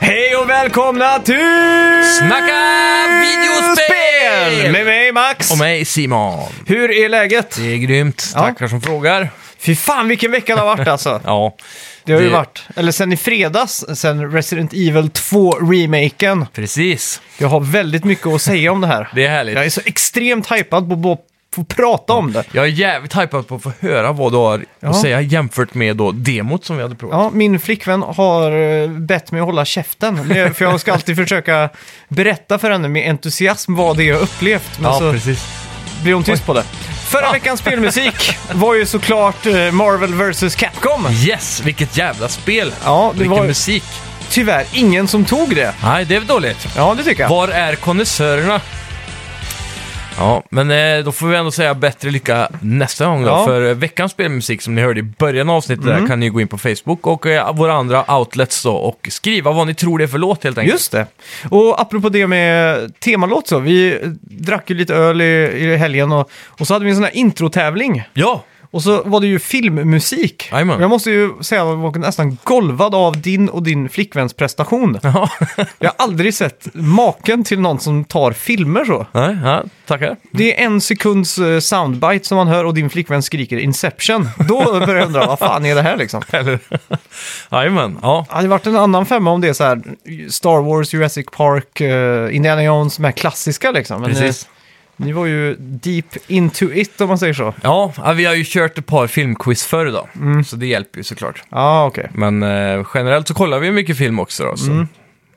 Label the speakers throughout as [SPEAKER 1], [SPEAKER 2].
[SPEAKER 1] Hej och välkomna till...
[SPEAKER 2] Snacka videospel!
[SPEAKER 1] Med mig Max!
[SPEAKER 2] Och mig Simon.
[SPEAKER 1] Hur är läget?
[SPEAKER 2] Det är grymt.
[SPEAKER 1] Ja.
[SPEAKER 2] Tackar som frågar.
[SPEAKER 1] Fy fan vilken vecka det har varit alltså.
[SPEAKER 2] Ja,
[SPEAKER 1] Det har ju
[SPEAKER 2] Det-
[SPEAKER 1] varit, eller sen i fredags, sen Resident Evil 2-remaken.
[SPEAKER 2] precis.
[SPEAKER 1] Jag har väldigt mycket att säga om det här.
[SPEAKER 2] Det är härligt.
[SPEAKER 1] Jag är så extremt hypad på att få prata om det.
[SPEAKER 2] Jag är jävligt hypad på att få höra vad du har
[SPEAKER 1] Ja.
[SPEAKER 2] att säga jämfört med då demot som vi hade provat.
[SPEAKER 1] Ja, min flickvän har eh, bett mig att hålla käften. Det är- För jag ska alltid försöka berätta för henne med entusiasm vad det är jag upplevt. Men alltså- så
[SPEAKER 2] precis.
[SPEAKER 1] blir hon tyst på det. Förra veckans spelmusik var ju såklart eh, Marvel vs Capcom.
[SPEAKER 2] Yes, vilket jävla spel.
[SPEAKER 1] Ja, det
[SPEAKER 2] Vilken
[SPEAKER 1] var
[SPEAKER 2] musik.
[SPEAKER 1] tyvärr ingen som tog det.
[SPEAKER 2] Nej, det är väl dåligt.
[SPEAKER 1] Ja, det tycker jag.
[SPEAKER 2] Var är konnässörerna? Ja, men eh, då får vi ändå säga bättre lycka nästa gång då.
[SPEAKER 1] Ja. Mm.
[SPEAKER 2] För eh, veckans spelmusik som ni hörde i början av avsnittet där kan ni gå in på Facebook och eh, våra andra outlets då och skriva vad ni tror det är för låt helt enkelt.
[SPEAKER 1] Just det. Och apropå det med temalåt så, vi eh, drack ju lite öl i, i helgen och, och så hade vi en sån här introtävling.
[SPEAKER 2] Ja,
[SPEAKER 1] Och så var det ju filmmusik.
[SPEAKER 2] Jajamän.
[SPEAKER 1] Och Jag måste ju säga att jag var nästan golvad av din och din flickväns prestation.
[SPEAKER 2] Ja.
[SPEAKER 1] Jag har aldrig sett maken till någon som tar filmer så.
[SPEAKER 2] Nej, ja, tackar.
[SPEAKER 1] Det är en sekunds eh, soundbite som man hör och din flickvän skriker Inception. Då börjar jag undra, vad fan är det här liksom?
[SPEAKER 2] Eller? Jajamän, ja.
[SPEAKER 1] Det hade varit en annan femma om det är så här Star Wars, Jurassic Park, eh, Indiana Jones, de här klassiska liksom. Men eh,
[SPEAKER 2] Precis.
[SPEAKER 1] ni var ju deep into it om man säger så.
[SPEAKER 2] Ja, ja, vi har ju kört ett par filmquiz förr då,
[SPEAKER 1] Mm.
[SPEAKER 2] så det hjälper ju såklart.
[SPEAKER 1] Ja, okej.
[SPEAKER 2] Men eh, generellt så kollar vi mycket film också då.
[SPEAKER 1] Mm.
[SPEAKER 2] Så.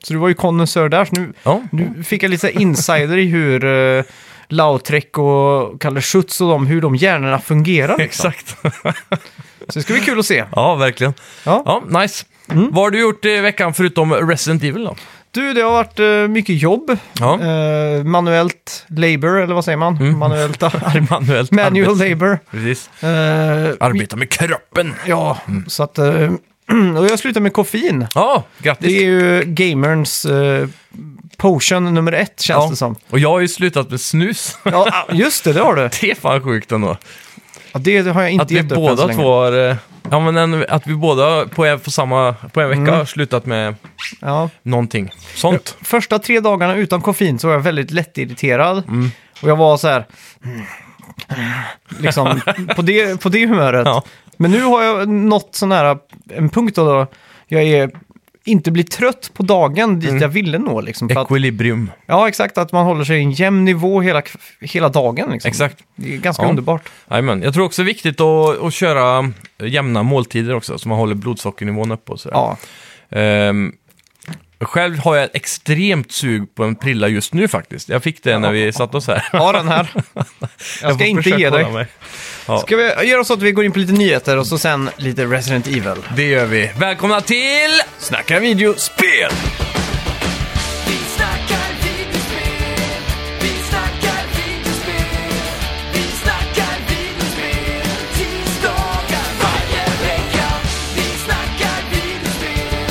[SPEAKER 1] Så du var ju konnässör där. Så nu,
[SPEAKER 2] Ja.
[SPEAKER 1] nu fick jag lite så här insider i hur uh, Lautrec och Kalle Schütz och de, hur de hjärnorna fungerar. Liksom.
[SPEAKER 2] Exakt.
[SPEAKER 1] Så det ska bli kul att se.
[SPEAKER 2] Ja, verkligen.
[SPEAKER 1] Ja. Mm.
[SPEAKER 2] Ja, nice. Vad har du gjort i veckan förutom Resident Evil då?
[SPEAKER 1] Du, det har varit eh, mycket jobb.
[SPEAKER 2] Ja.
[SPEAKER 1] Eh, manuellt labor, eller vad säger man?
[SPEAKER 2] Mm.
[SPEAKER 1] Manuellt ar-
[SPEAKER 2] Manuellt
[SPEAKER 1] manual
[SPEAKER 2] arbete.
[SPEAKER 1] labor.
[SPEAKER 2] Precis.
[SPEAKER 1] Eh,
[SPEAKER 2] Arbeta med kroppen.
[SPEAKER 1] ja,
[SPEAKER 2] Mm.
[SPEAKER 1] så att... eh, och jag slutar med koffein.
[SPEAKER 2] Ja, grattis.
[SPEAKER 1] Det är ju gamerns eh, potion nummer ett, känns
[SPEAKER 2] Ja.
[SPEAKER 1] det som.
[SPEAKER 2] Och jag har ju slutat med snus.
[SPEAKER 1] Ja, ah, just det, det har du.
[SPEAKER 2] Det är fan sjukt ändå.
[SPEAKER 1] Ja, det har jag inte
[SPEAKER 2] Att vi
[SPEAKER 1] gett upp än så
[SPEAKER 2] båda
[SPEAKER 1] länge.
[SPEAKER 2] två har... eh, Ja, men en, att vi båda på en, på samma, på en vecka
[SPEAKER 1] Mm.
[SPEAKER 2] har slutat med
[SPEAKER 1] Ja.
[SPEAKER 2] någonting. Sånt.
[SPEAKER 1] Första tre dagarna utan koffein så var jag väldigt lättirriterad.
[SPEAKER 2] Mm.
[SPEAKER 1] Och jag var så här... mm, Liksom, på det, på det humöret.
[SPEAKER 2] Ja.
[SPEAKER 1] Men nu har jag nått sån här en punkt då, då jag är, inte blir trött på dagen dit
[SPEAKER 2] Mm.
[SPEAKER 1] jag ville nå. Liksom, för att,
[SPEAKER 2] Equilibrium.
[SPEAKER 1] ja, exakt. Att man håller sig i en jämn nivå hela, k- hela dagen. Liksom.
[SPEAKER 2] Exakt.
[SPEAKER 1] Det är ganska
[SPEAKER 2] Ja.
[SPEAKER 1] underbart.
[SPEAKER 2] Jajamän. Jag tror också det är viktigt att, att köra jämna måltider också, så man håller blodsockernivån uppe och sådär.
[SPEAKER 1] Ja.
[SPEAKER 2] Ehm, själv har jag ett extremt sug på en prilla just nu faktiskt. Jag fick det när vi satt oss här.
[SPEAKER 1] Ha den här. Jag ska
[SPEAKER 2] får
[SPEAKER 1] inte
[SPEAKER 2] försöka
[SPEAKER 1] ge
[SPEAKER 2] hålla
[SPEAKER 1] dig.
[SPEAKER 2] mig. Ja,
[SPEAKER 1] Ska vi göra så att vi går in på lite nyheter och så sen lite Resident Evil.
[SPEAKER 2] det gör vi. Välkomna till...
[SPEAKER 1] Snacka videospel!
[SPEAKER 3] Vi snackar videospel, vi snackar videospel, vi snackar videospel, tisdagar varje vecka. Vi snackar videospel,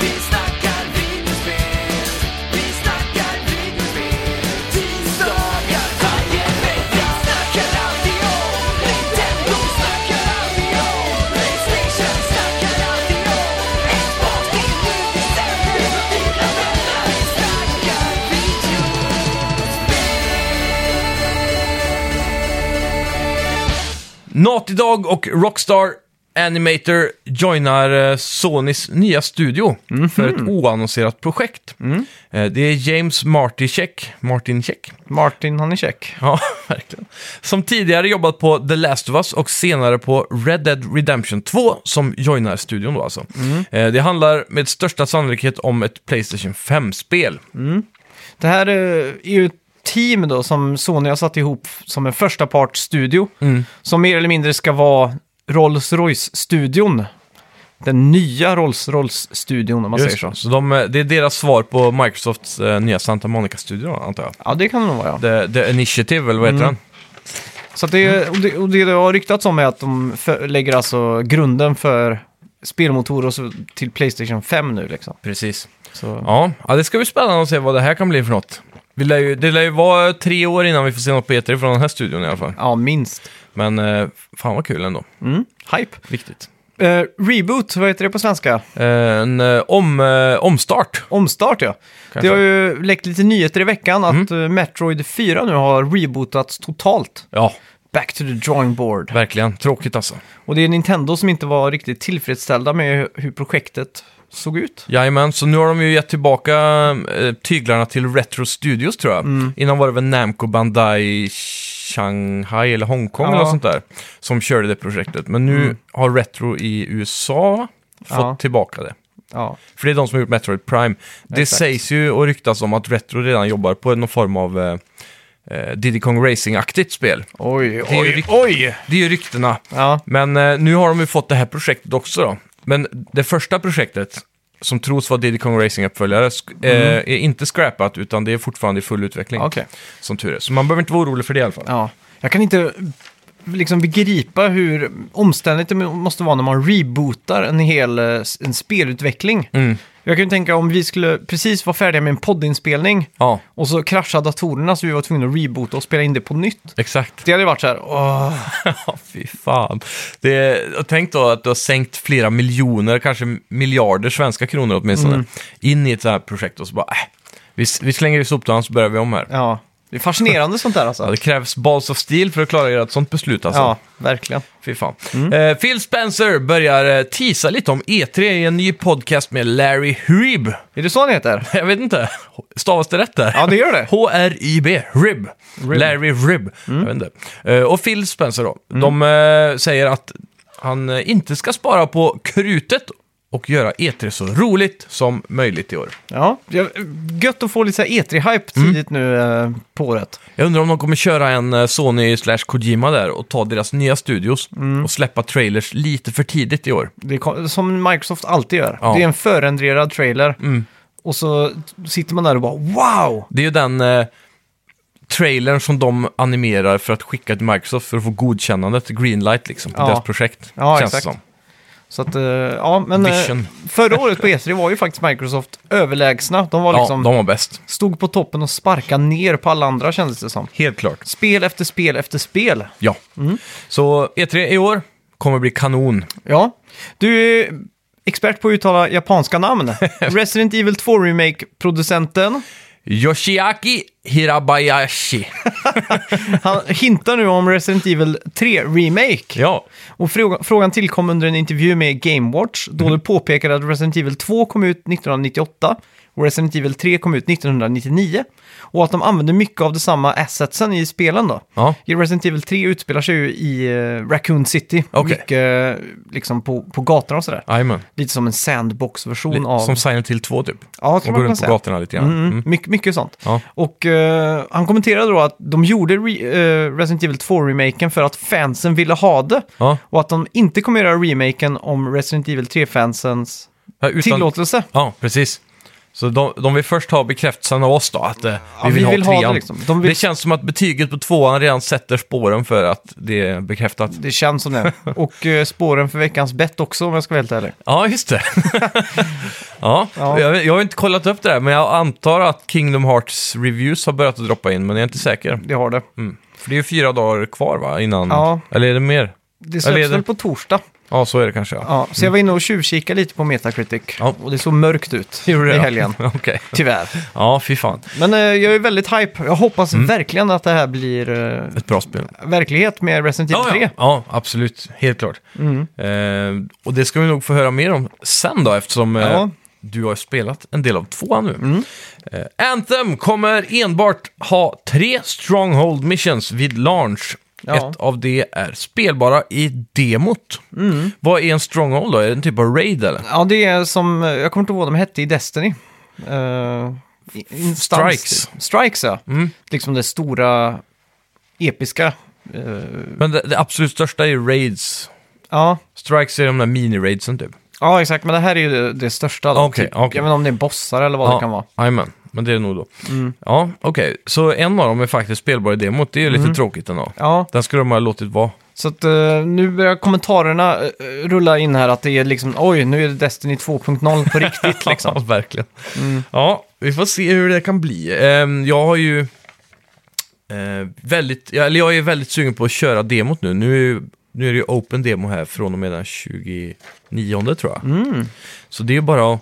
[SPEAKER 3] vi snackar videospel, vi snackar videospel, tisdagar varje vecka. Snackar alltid om Nintendo, snackar alltid om Playstation, snackar alltid om Xbox, det är nu vi sänder, mina vänner. Vi snackar video.
[SPEAKER 2] Naughty Dog och Rockstar Animator joinar eh, Sonys nya studio för
[SPEAKER 1] Mhm.
[SPEAKER 2] ett oannonserat projekt.
[SPEAKER 1] Mm.
[SPEAKER 2] Eh, Det är James Martichek, Martin Check,
[SPEAKER 1] Martin, han är check.
[SPEAKER 2] ja, verkligen. som tidigare jobbat på The Last of Us och senare på Red Dead Redemption 2 som joinar studion då alltså. Eh, Det handlar med största sannolikhet om ett Playstation 5-spel.
[SPEAKER 1] Det här eh, är ju ett team då som Sony har satt ihop som en första part studio
[SPEAKER 2] Mm.
[SPEAKER 1] som mer eller mindre ska vara Rolls-Royce-studion. Den nya Rolls-Royce-studion om man
[SPEAKER 2] Just
[SPEAKER 1] säger
[SPEAKER 2] det.
[SPEAKER 1] så.
[SPEAKER 2] Så de, eh, det är deras svar på Microsofts eh, nya Santa Monica-studio antar jag.
[SPEAKER 1] Ja, det kan det nog vara. Ja.
[SPEAKER 2] The, The Initiative, eller vad heter den?
[SPEAKER 1] Så att
[SPEAKER 2] Mm.
[SPEAKER 1] det, och det, och det det har ryktats om är att de för, lägger alltså grunden för spelmotorer och så till Playstation 5 nu liksom.
[SPEAKER 2] Precis.
[SPEAKER 1] Så,
[SPEAKER 2] Ja, ja, det ska bli spännande att se vad det här kan bli för något. Vi lär ju, det lär ju vara tre år innan vi får se något på E E3 från den här studion i alla fall.
[SPEAKER 1] ja, minst.
[SPEAKER 2] Men eh, fan vad kul ändå.
[SPEAKER 1] Mm. Hype.
[SPEAKER 2] Viktigt.
[SPEAKER 1] Eh, reboot, vad heter det på svenska?
[SPEAKER 2] Eh, En eh, om, eh, omstart.
[SPEAKER 1] Omstart ja.
[SPEAKER 2] Kanske.
[SPEAKER 1] Det har ju läckt lite nyheter i veckan att eh, Metroid 4 nu har rebootats totalt.
[SPEAKER 2] Ja,
[SPEAKER 1] Back to the drawing board.
[SPEAKER 2] verkligen. Tråkigt alltså.
[SPEAKER 1] Och det är Nintendo som inte var riktigt tillfredsställda med hur projektet såg ut.
[SPEAKER 2] Jajamän, så nu har de ju gett tillbaka eh, tyglarna till Retro Studios tror jag.
[SPEAKER 1] Mm.
[SPEAKER 2] Innan var det väl Namco Bandai Shanghai eller Hongkong
[SPEAKER 1] Ja. Mm.
[SPEAKER 2] eller något sånt där. Som körde det projektet. Men nu har Retro i USA fått
[SPEAKER 1] Ja.
[SPEAKER 2] tillbaka det.
[SPEAKER 1] Ja.
[SPEAKER 2] För det är de som har gjort Metroid Prime. Det
[SPEAKER 1] Exakt.
[SPEAKER 2] sägs ju och ryktas om att Retro redan jobbar på någon form av eh, eh, Diddy Kong Racing-aktigt spel.
[SPEAKER 1] Oj,
[SPEAKER 2] Det är ju
[SPEAKER 1] oj,
[SPEAKER 2] rikt-
[SPEAKER 1] oj!
[SPEAKER 2] Det är ju ryktena.
[SPEAKER 1] Ja,
[SPEAKER 2] Men eh, nu har de ju fått det här projektet också då. Men det första projektet, som tros vara Diddy Kong Racing-uppföljare, sk- eh, är inte scrappat utan det är fortfarande i full utveckling.
[SPEAKER 1] Mm. okej.
[SPEAKER 2] Som tur är. Så man behöver inte vara orolig för det i alla fall.
[SPEAKER 1] Ja. Jag kan inte liksom begripa hur omständigt det måste vara när man rebootar en hel eh, s- en spelutveckling.
[SPEAKER 2] Mm.
[SPEAKER 1] Jag kan ju tänka om vi skulle precis vara färdiga med en poddinspelning
[SPEAKER 2] Ja,
[SPEAKER 1] och så kraschade datorerna så vi var tvungna att reboota och spela in det på nytt.
[SPEAKER 2] exakt.
[SPEAKER 1] Det hade ju varit så här, åh,
[SPEAKER 2] Ja, fy fan. Det är, och tänk då att du har sänkt flera miljoner, kanske miljarder svenska kronor åtminstone,
[SPEAKER 1] Mm.
[SPEAKER 2] in i ett så här projekt och så bara, äh, vi, vi slänger i soptunnan så börjar vi om här.
[SPEAKER 1] ja. Det är fascinerande sånt där
[SPEAKER 2] Ja,
[SPEAKER 1] alltså.
[SPEAKER 2] det krävs balls of steel för att klara ett sånt beslut alltså.
[SPEAKER 1] Ja, verkligen.
[SPEAKER 2] Fy fan.
[SPEAKER 1] Mm.
[SPEAKER 2] Eh, Phil Spencer börjar eh, teasa lite om E3 i en ny podcast med Larry Hryb.
[SPEAKER 1] Är det så han heter?
[SPEAKER 2] Jag vet inte, stavas det rätt där?
[SPEAKER 1] Ja, det gör det. Mm.
[SPEAKER 2] H-R-I-B, Rib. Larry Rib. Jag vet inte. Eh, och Phil Spencer då, de eh, säger att han eh, inte ska spara på krutet och göra E3 så roligt som möjligt i år.
[SPEAKER 1] Ja, jag- gött att få lite så här E3-hype
[SPEAKER 2] Mm.
[SPEAKER 1] tidigt nu eh, på året.
[SPEAKER 2] Jag undrar om de kommer köra en eh, Sony slash Kojima där och ta deras nya studios
[SPEAKER 1] Mm.
[SPEAKER 2] och släppa trailers lite för tidigt i år.
[SPEAKER 1] Det kom, som Microsoft alltid gör.
[SPEAKER 2] Ja. Mm.
[SPEAKER 1] Det är en förändrad trailer. Och så sitter man där och bara wow!
[SPEAKER 2] Det är ju den eh, trailern som de animerar för att skicka till Microsoft för att få godkännandet, greenlight liksom, på
[SPEAKER 1] Ja.
[SPEAKER 2] deras projekt.
[SPEAKER 1] Ja,
[SPEAKER 2] känns det
[SPEAKER 1] exakt.
[SPEAKER 2] som.
[SPEAKER 1] Så att, eh, ja, men eh,
[SPEAKER 2] Vision.
[SPEAKER 1] förra året på E3 var ju faktiskt Microsoft överlägsna. De var
[SPEAKER 2] Ja,
[SPEAKER 1] liksom,
[SPEAKER 2] de var bäst.
[SPEAKER 1] stod på toppen och sparkade ner på alla andra kändes det som.
[SPEAKER 2] Helt klart.
[SPEAKER 1] Spel efter spel efter spel.
[SPEAKER 2] Ja.
[SPEAKER 1] Mm.
[SPEAKER 2] Så E3 i år kommer bli kanon.
[SPEAKER 1] Ja, du är expert på att uttala japanska namn. Resident Evil 2 Remake-producenten.
[SPEAKER 2] Yoshiaki Hirabayashi.
[SPEAKER 1] Han hintar nu om Resident Evil 3 Remake.
[SPEAKER 2] ja.
[SPEAKER 1] Och fråga, frågan tillkom under en intervju med Gamewatch
[SPEAKER 2] Mm-hmm.
[SPEAKER 1] då det påpekade att Resident Evil 2 kom ut 1998 och Resident Evil 3 kom ut 1999. Och att de använde mycket av detsamma assetsen i spelen då.
[SPEAKER 2] Ja.
[SPEAKER 1] I Resident Evil 3 utspelar sig ju i eh, Raccoon City.
[SPEAKER 2] Okej.
[SPEAKER 1] Mycket eh, liksom på, på gatorna och sådär.
[SPEAKER 2] Jajamän.
[SPEAKER 1] Lite som en sandbox-version
[SPEAKER 2] Li-
[SPEAKER 1] av...
[SPEAKER 2] Som Silent Hill 2 typ.
[SPEAKER 1] Ja, skulle
[SPEAKER 2] Och
[SPEAKER 1] man
[SPEAKER 2] går
[SPEAKER 1] kunna
[SPEAKER 2] runt på
[SPEAKER 1] säga.
[SPEAKER 2] gatorna lite grann.
[SPEAKER 1] Mm, mycket, mycket sånt.
[SPEAKER 2] Ja.
[SPEAKER 1] Och eh, han kommenterade då att de gjorde re, eh, Resident Evil 2-remaken för att fansen ville ha det.
[SPEAKER 2] Ja.
[SPEAKER 1] Och att de inte kommer göra remaken om Resident Evil 3-fansens
[SPEAKER 2] Ja, utan-
[SPEAKER 1] tillåtelse.
[SPEAKER 2] Ja, precis. Så de, de vill först ha bekräftelsen av oss då, att eh, vi, vill
[SPEAKER 1] vi
[SPEAKER 2] ha
[SPEAKER 1] vill ha
[SPEAKER 2] trean.
[SPEAKER 1] det liksom. De vill-
[SPEAKER 2] Det känns som att betyget på tvåan redan sätter spåren för att det är bekräftat.
[SPEAKER 1] Det känns som det. Och eh, spåren för veckans bett också om jag ska vara helt ärlig.
[SPEAKER 2] Ja, just det. ja,
[SPEAKER 1] Ja.
[SPEAKER 2] Jag, jag har inte kollat upp det där, men jag antar att Kingdom Hearts Reviews har börjat att droppa in, men jag är inte säker.
[SPEAKER 1] Det har det.
[SPEAKER 2] Mm. För det är ju fyra dagar kvar, va? Innan...
[SPEAKER 1] Ja.
[SPEAKER 2] Eller är det mer?
[SPEAKER 1] Det
[SPEAKER 2] Eller är
[SPEAKER 1] släpps
[SPEAKER 2] det-
[SPEAKER 1] väl på torsdag.
[SPEAKER 2] Ja, så är det kanske. Ja.
[SPEAKER 1] Ja, så jag var inne och tjuvkikade lite på Metacritic.
[SPEAKER 2] Mm. Ja.
[SPEAKER 1] Och det såg mörkt ut
[SPEAKER 2] Gjorde det,
[SPEAKER 1] i
[SPEAKER 2] ja.
[SPEAKER 1] helgen.
[SPEAKER 2] Okej.
[SPEAKER 1] Tyvärr.
[SPEAKER 2] Ja, fy fan.
[SPEAKER 1] Men eh, jag är väldigt hype. Jag hoppas verkligen att det här blir eh,
[SPEAKER 2] Mm. Ett bra spel.
[SPEAKER 1] verklighet med Resident Evil
[SPEAKER 2] Ja,
[SPEAKER 1] 3.
[SPEAKER 2] ja. ja, absolut. Helt klart. Eh, och det ska vi nog få höra mer om sen då, eftersom eh,
[SPEAKER 1] Ja. Mm.
[SPEAKER 2] du har spelat en del av tvåan nu. Eh, Anthem kommer enbart ha tre stronghold missions vid launch.
[SPEAKER 1] Ja.
[SPEAKER 2] Ett av det är spelbara i demot.
[SPEAKER 1] Mm.
[SPEAKER 2] Vad är en stronghold då? Är det en typ av raid eller?
[SPEAKER 1] Ja, det är som, eh, jag kommer inte ihåg vad de hette i Destiny. Eh, i- instans-
[SPEAKER 2] Strikes. Mm.
[SPEAKER 1] Strikes, ja. Liksom det stora, episka. eh,
[SPEAKER 2] Men det, det absolut största är ju raids.
[SPEAKER 1] ja.
[SPEAKER 2] Strikes är de där mini-raidsen typ.
[SPEAKER 1] ja, exakt. Men det här är ju det, det största. Då, typ.
[SPEAKER 2] Okej, okej.
[SPEAKER 1] Jag vet inte om det är bossar eller vad det kan vara. Mm.
[SPEAKER 2] Jajamän, men det är det nog då. Ja, okej. Så en av dem är faktiskt spelbar i demot. Det är ju lite tråkigt ändå.
[SPEAKER 1] Mm. Ja,
[SPEAKER 2] Den skulle de ha låtit vara.
[SPEAKER 1] så att eh, nu börjar kommentarerna eh, rulla in här att det är liksom, oj, nu är det Destiny 2.0 på riktigt liksom.
[SPEAKER 2] Ja, verkligen. Ja, vi får se hur det kan bli. Ehm, Jag har ju eh, väldigt, ja, eller jag är väldigt sugen på att köra demot nu. Nu Nu är det ju open demo här från och med den 29 tror jag. Så det är ju bara att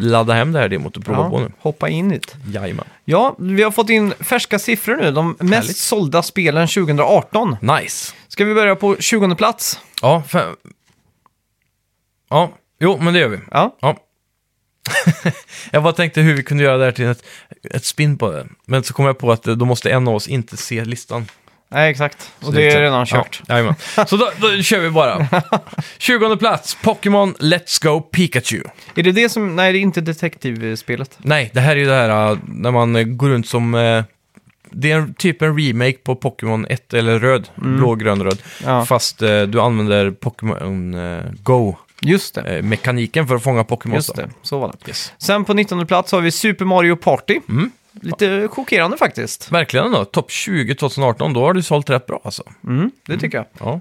[SPEAKER 2] ladda hem det här demot och prova på nu.
[SPEAKER 1] hoppa in i det.
[SPEAKER 2] Jajamän.
[SPEAKER 1] Ja, vi har fått in färska siffror nu. De mest
[SPEAKER 2] Härligt.
[SPEAKER 1] sålda spelen 2018.
[SPEAKER 2] Nice.
[SPEAKER 1] Ska vi börja på 20 plats?
[SPEAKER 2] Ja, fem... Ja, jo, men det gör vi.
[SPEAKER 1] Ja.
[SPEAKER 2] Ja. jag bara tänkte hur vi kunde göra det här till ett, ett spin på det. Men så kom jag på att eh, då måste en av oss inte se listan.
[SPEAKER 1] Nej, exakt. Och
[SPEAKER 2] Så
[SPEAKER 1] det är
[SPEAKER 2] klart.
[SPEAKER 1] redan kört.
[SPEAKER 2] Ja, jajamän. så då, då kör vi bara. 20 plats, Pokémon Let's Go Pikachu.
[SPEAKER 1] Är det det som... Nej, det är inte detektivspelet.
[SPEAKER 2] Nej, det här är ju det här eh, när man eh, går runt som... eh, Det är en, typ en remake på Pokémon 1 eller röd. Blå, grön, röd.
[SPEAKER 1] Mm. Ja,
[SPEAKER 2] Fast eh, du använder Pokémon eh, Go-mekaniken
[SPEAKER 1] just det.
[SPEAKER 2] eh, för att fånga Pokémon.
[SPEAKER 1] Eh, Just det, så var det.
[SPEAKER 2] Yes.
[SPEAKER 1] Sen på 19 plats har vi Super Mario Party.
[SPEAKER 2] Mm.
[SPEAKER 1] Lite chockerande faktiskt.
[SPEAKER 2] Verkligen då, topp 20 2018, då har du sålt rätt bra alltså.
[SPEAKER 1] Mm, det tycker jag.
[SPEAKER 2] Ja.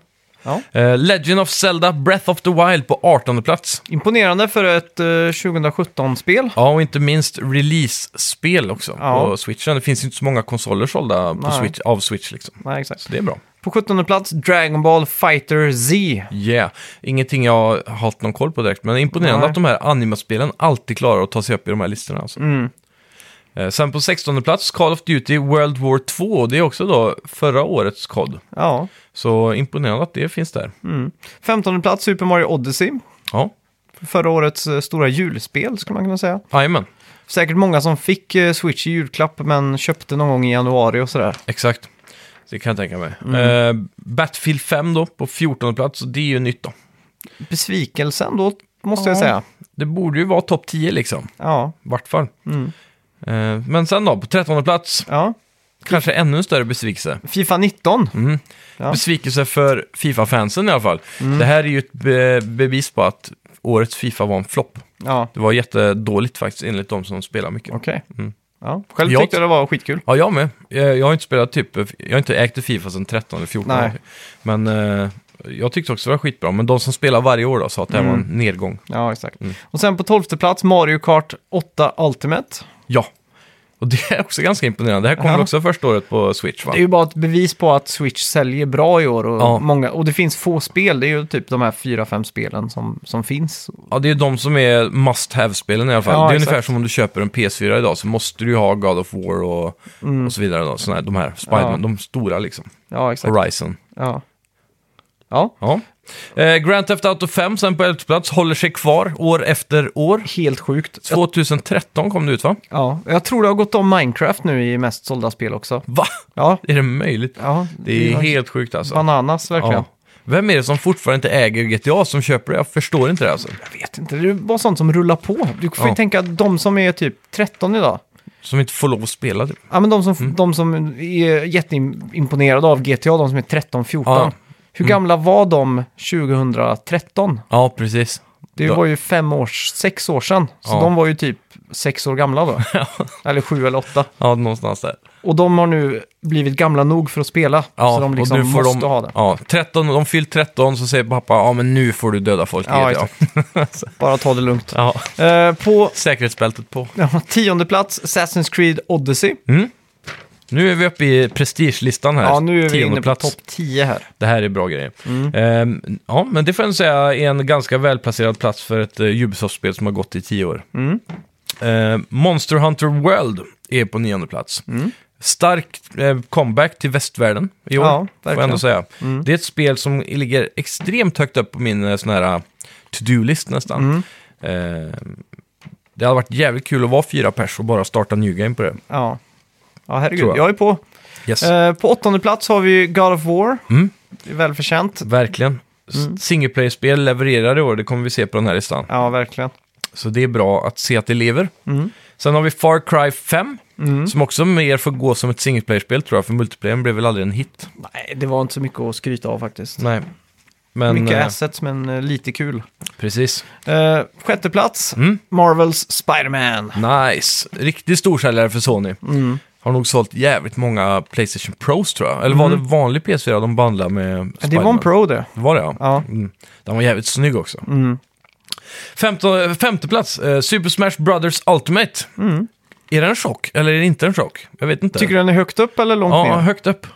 [SPEAKER 1] Ja.
[SPEAKER 2] Eh, Legend of Zelda Breath of the Wild på 18 plats.
[SPEAKER 1] Imponerande för ett eh, 2017-spel.
[SPEAKER 2] Ja, och inte minst release-spel också
[SPEAKER 1] Ja.
[SPEAKER 2] på Switchen. Det finns ju inte så många konsoler sålda på
[SPEAKER 1] Nej.
[SPEAKER 2] Switch, av Switch liksom.
[SPEAKER 1] Nej, exakt.
[SPEAKER 2] Så det är bra.
[SPEAKER 1] På 17 plats Dragon Ball Fighter Z.
[SPEAKER 2] Yeah. Ingenting jag har haft någon koll på direkt, men imponerande
[SPEAKER 1] Nej.
[SPEAKER 2] att de här animaspelen alltid klarar att ta sig upp i de här listorna. Alltså.
[SPEAKER 1] Mm.
[SPEAKER 2] Eh, Sen på 16 plats, Call of Duty World War 2. Det är också då förra årets kod.
[SPEAKER 1] Ja.
[SPEAKER 2] Så imponerande att det finns där.
[SPEAKER 1] Mm. 15 plats Super Mario Odyssey.
[SPEAKER 2] Ja,
[SPEAKER 1] Förra årets eh, stora julspel skulle man kunna säga.
[SPEAKER 2] jajamän.
[SPEAKER 1] Säkert många som fick eh, Switch i julklapp men köpte någon gång i januari och sådär.
[SPEAKER 2] Exakt. Det kan jag tänka mig.
[SPEAKER 1] Mm.
[SPEAKER 2] Eh, Battlefield 5 då, på 14 plats. Det är ju nytt då.
[SPEAKER 1] Besvikelsen då, måste jag
[SPEAKER 2] Ja.
[SPEAKER 1] säga.
[SPEAKER 2] Det borde ju vara topp 10 liksom.
[SPEAKER 1] Ja,
[SPEAKER 2] I vart fall.
[SPEAKER 1] Mm.
[SPEAKER 2] Eh, men sen då, på 13 plats.
[SPEAKER 1] ja.
[SPEAKER 2] Kanske ännu större besvikelse.
[SPEAKER 1] Fifa 19.
[SPEAKER 2] Mm.
[SPEAKER 1] Ja. Mm.
[SPEAKER 2] Besvikelse för Fifa-fansen i alla fall. Det här är ju ett be- bevis på att årets Fifa var en flopp.
[SPEAKER 1] Ja,
[SPEAKER 2] Det var jättedåligt faktiskt enligt de som spelar mycket.
[SPEAKER 1] okej.
[SPEAKER 2] Mm.
[SPEAKER 1] Ja. Själv
[SPEAKER 2] Jag
[SPEAKER 1] tyckte jag det var skitkul.
[SPEAKER 2] Ja, jag med. Eh, Jag har inte spelat typ, jag har inte ägt Fifa sedan 13 eller 14.
[SPEAKER 1] Nej.
[SPEAKER 2] Men eh, jag tyckte också det var skitbra. Men de som spelar varje år då sa att det här var
[SPEAKER 1] Mm.
[SPEAKER 2] en nedgång.
[SPEAKER 1] Ja, exakt.
[SPEAKER 2] Mm.
[SPEAKER 1] Och sen på tolfte plats Mario Kart 8 Ultimate.
[SPEAKER 2] Ja. Och det är också ganska imponerande. Det här kom
[SPEAKER 1] Ja.
[SPEAKER 2] väl också första året på Switch va?
[SPEAKER 1] Det är ju bara ett bevis på att Switch säljer bra i år och,
[SPEAKER 2] Ja.
[SPEAKER 1] många, och det finns få spel. Det är ju typ de här fyra, fem spelen som, som finns.
[SPEAKER 2] Ja, det är de som är must have-spelen i alla fall.
[SPEAKER 1] Ja,
[SPEAKER 2] det är
[SPEAKER 1] exakt.
[SPEAKER 2] ungefär som om du köper en PS4 idag så måste du ju ha God of War och, och så vidare. Då. Såna här, de här Spiderman,
[SPEAKER 1] Mm. Ja.
[SPEAKER 2] de stora liksom.
[SPEAKER 1] Ja, exakt.
[SPEAKER 2] Horizon.
[SPEAKER 1] Ja. Ja,
[SPEAKER 2] Ja. Eh, Grand Theft Auto 5 sen på 11 plats håller sig kvar år efter år.
[SPEAKER 1] helt sjukt.
[SPEAKER 2] 2013 kom det ut va?
[SPEAKER 1] Ja, jag tror det har gått om Minecraft nu i mest sålda spel också.
[SPEAKER 2] Va?
[SPEAKER 1] Ja,
[SPEAKER 2] Är det möjligt?
[SPEAKER 1] ja
[SPEAKER 2] Det är
[SPEAKER 1] var
[SPEAKER 2] helt sjukt alltså.
[SPEAKER 1] bananas verkligen.
[SPEAKER 2] Ja. Vem är det som fortfarande inte äger GTA som köper det? Jag förstår inte det alltså.
[SPEAKER 1] Jag vet inte, det är bara sånt som rullar på. Du får ju
[SPEAKER 2] Ja.
[SPEAKER 1] tänka att de som är typ 13 idag,
[SPEAKER 2] Som inte får lov att spela typ. det.
[SPEAKER 1] ja, men de, som,
[SPEAKER 2] Mm.
[SPEAKER 1] de som är jätteimponerade av GTA, de som är 13-14,
[SPEAKER 2] Ja. Mm.
[SPEAKER 1] hur gamla var de 2013?
[SPEAKER 2] Ja, precis.
[SPEAKER 1] Det
[SPEAKER 2] Ja.
[SPEAKER 1] var ju fem års, sex år sedan, så
[SPEAKER 2] Ja.
[SPEAKER 1] de var ju typ sex år gamla då. eller sju eller åtta.
[SPEAKER 2] Ja, någonstans där.
[SPEAKER 1] Och de har nu blivit gamla nog för att spela,
[SPEAKER 2] Ja,
[SPEAKER 1] så de
[SPEAKER 2] och
[SPEAKER 1] liksom
[SPEAKER 2] nu får
[SPEAKER 1] måste
[SPEAKER 2] de,
[SPEAKER 1] ha det.
[SPEAKER 2] Ja, 13, de fyllt 13 så säger pappa, ja men nu får du döda folk i
[SPEAKER 1] Ja,
[SPEAKER 2] GTA.
[SPEAKER 1] Bara ta det lugnt.
[SPEAKER 2] Ja,
[SPEAKER 1] Eh, på
[SPEAKER 2] säkerhetsbältet på.
[SPEAKER 1] Ja, tionde plats, Assassin's Creed Odyssey.
[SPEAKER 2] Nu är vi uppe i prestigelistan här.
[SPEAKER 1] Ja, nu är vi
[SPEAKER 2] Tionde
[SPEAKER 1] inne på
[SPEAKER 2] plats.
[SPEAKER 1] topp 10 här.
[SPEAKER 2] Det här är bra grejer. Ehm, ja, men det får jag ändå säga är en ganska välplacerad plats för ett uh, Ubisoft-spel som har gått i tio år. Ehm, Monster Hunter World är på nionde plats. Stark eh, comeback till västvärlden i år,
[SPEAKER 1] Ja,
[SPEAKER 2] får jag ändå
[SPEAKER 1] verkligen.
[SPEAKER 2] säga. Det är ett spel som ligger extremt högt upp på min eh, sån här eh, to-do-list nästan.
[SPEAKER 1] Mm.
[SPEAKER 2] Ehm, det hade varit jävligt kul att vara fyra pers och bara starta New Game på det.
[SPEAKER 1] Ja, ja herregud.
[SPEAKER 2] Tror jag.
[SPEAKER 1] Jag. är på.
[SPEAKER 2] Yes.
[SPEAKER 1] Eh, på åttonde plats har vi God of War.
[SPEAKER 2] Mm.
[SPEAKER 1] Det är välförtjänt.
[SPEAKER 2] Verkligen. Mm. Singleplayer-spel levererar i år, det kommer vi se på den här listan.
[SPEAKER 1] Ja, verkligen.
[SPEAKER 2] Så det är bra att se att det lever.
[SPEAKER 1] Mm.
[SPEAKER 2] Sen har vi Far Cry 5, som också mer får gå som ett singleplayer-spel tror jag, för multiplayern blev väl aldrig en hit.
[SPEAKER 1] Nej, det var inte så mycket att skryta av faktiskt.
[SPEAKER 2] Nej. Men,
[SPEAKER 1] mycket
[SPEAKER 2] eh,
[SPEAKER 1] assets, men eh, lite kul.
[SPEAKER 2] Precis.
[SPEAKER 1] Eh, sjätte plats,
[SPEAKER 2] Mm.
[SPEAKER 1] Marvels Spider-Man.
[SPEAKER 2] Nice. Riktig storsäljare för Sony.
[SPEAKER 1] Mm.
[SPEAKER 2] Har nog sålt jävligt många Playstation Pros tror jag. Eller var det vanlig PS4 de bandlade med
[SPEAKER 1] Mm. Ja, Det var en
[SPEAKER 2] Spiderman?
[SPEAKER 1] pro det.
[SPEAKER 2] Var det ja?
[SPEAKER 1] Ja.
[SPEAKER 2] Mm. Den var jävligt snygg också.
[SPEAKER 1] Mm.
[SPEAKER 2] Femton, femte plats, eh, Super Smash Brothers Ultimate.
[SPEAKER 1] Mm.
[SPEAKER 2] Är det en chock eller är det inte en chock? Jag vet inte.
[SPEAKER 1] Tycker du den är högt upp eller långt
[SPEAKER 2] ja,
[SPEAKER 1] ner?
[SPEAKER 2] högt upp.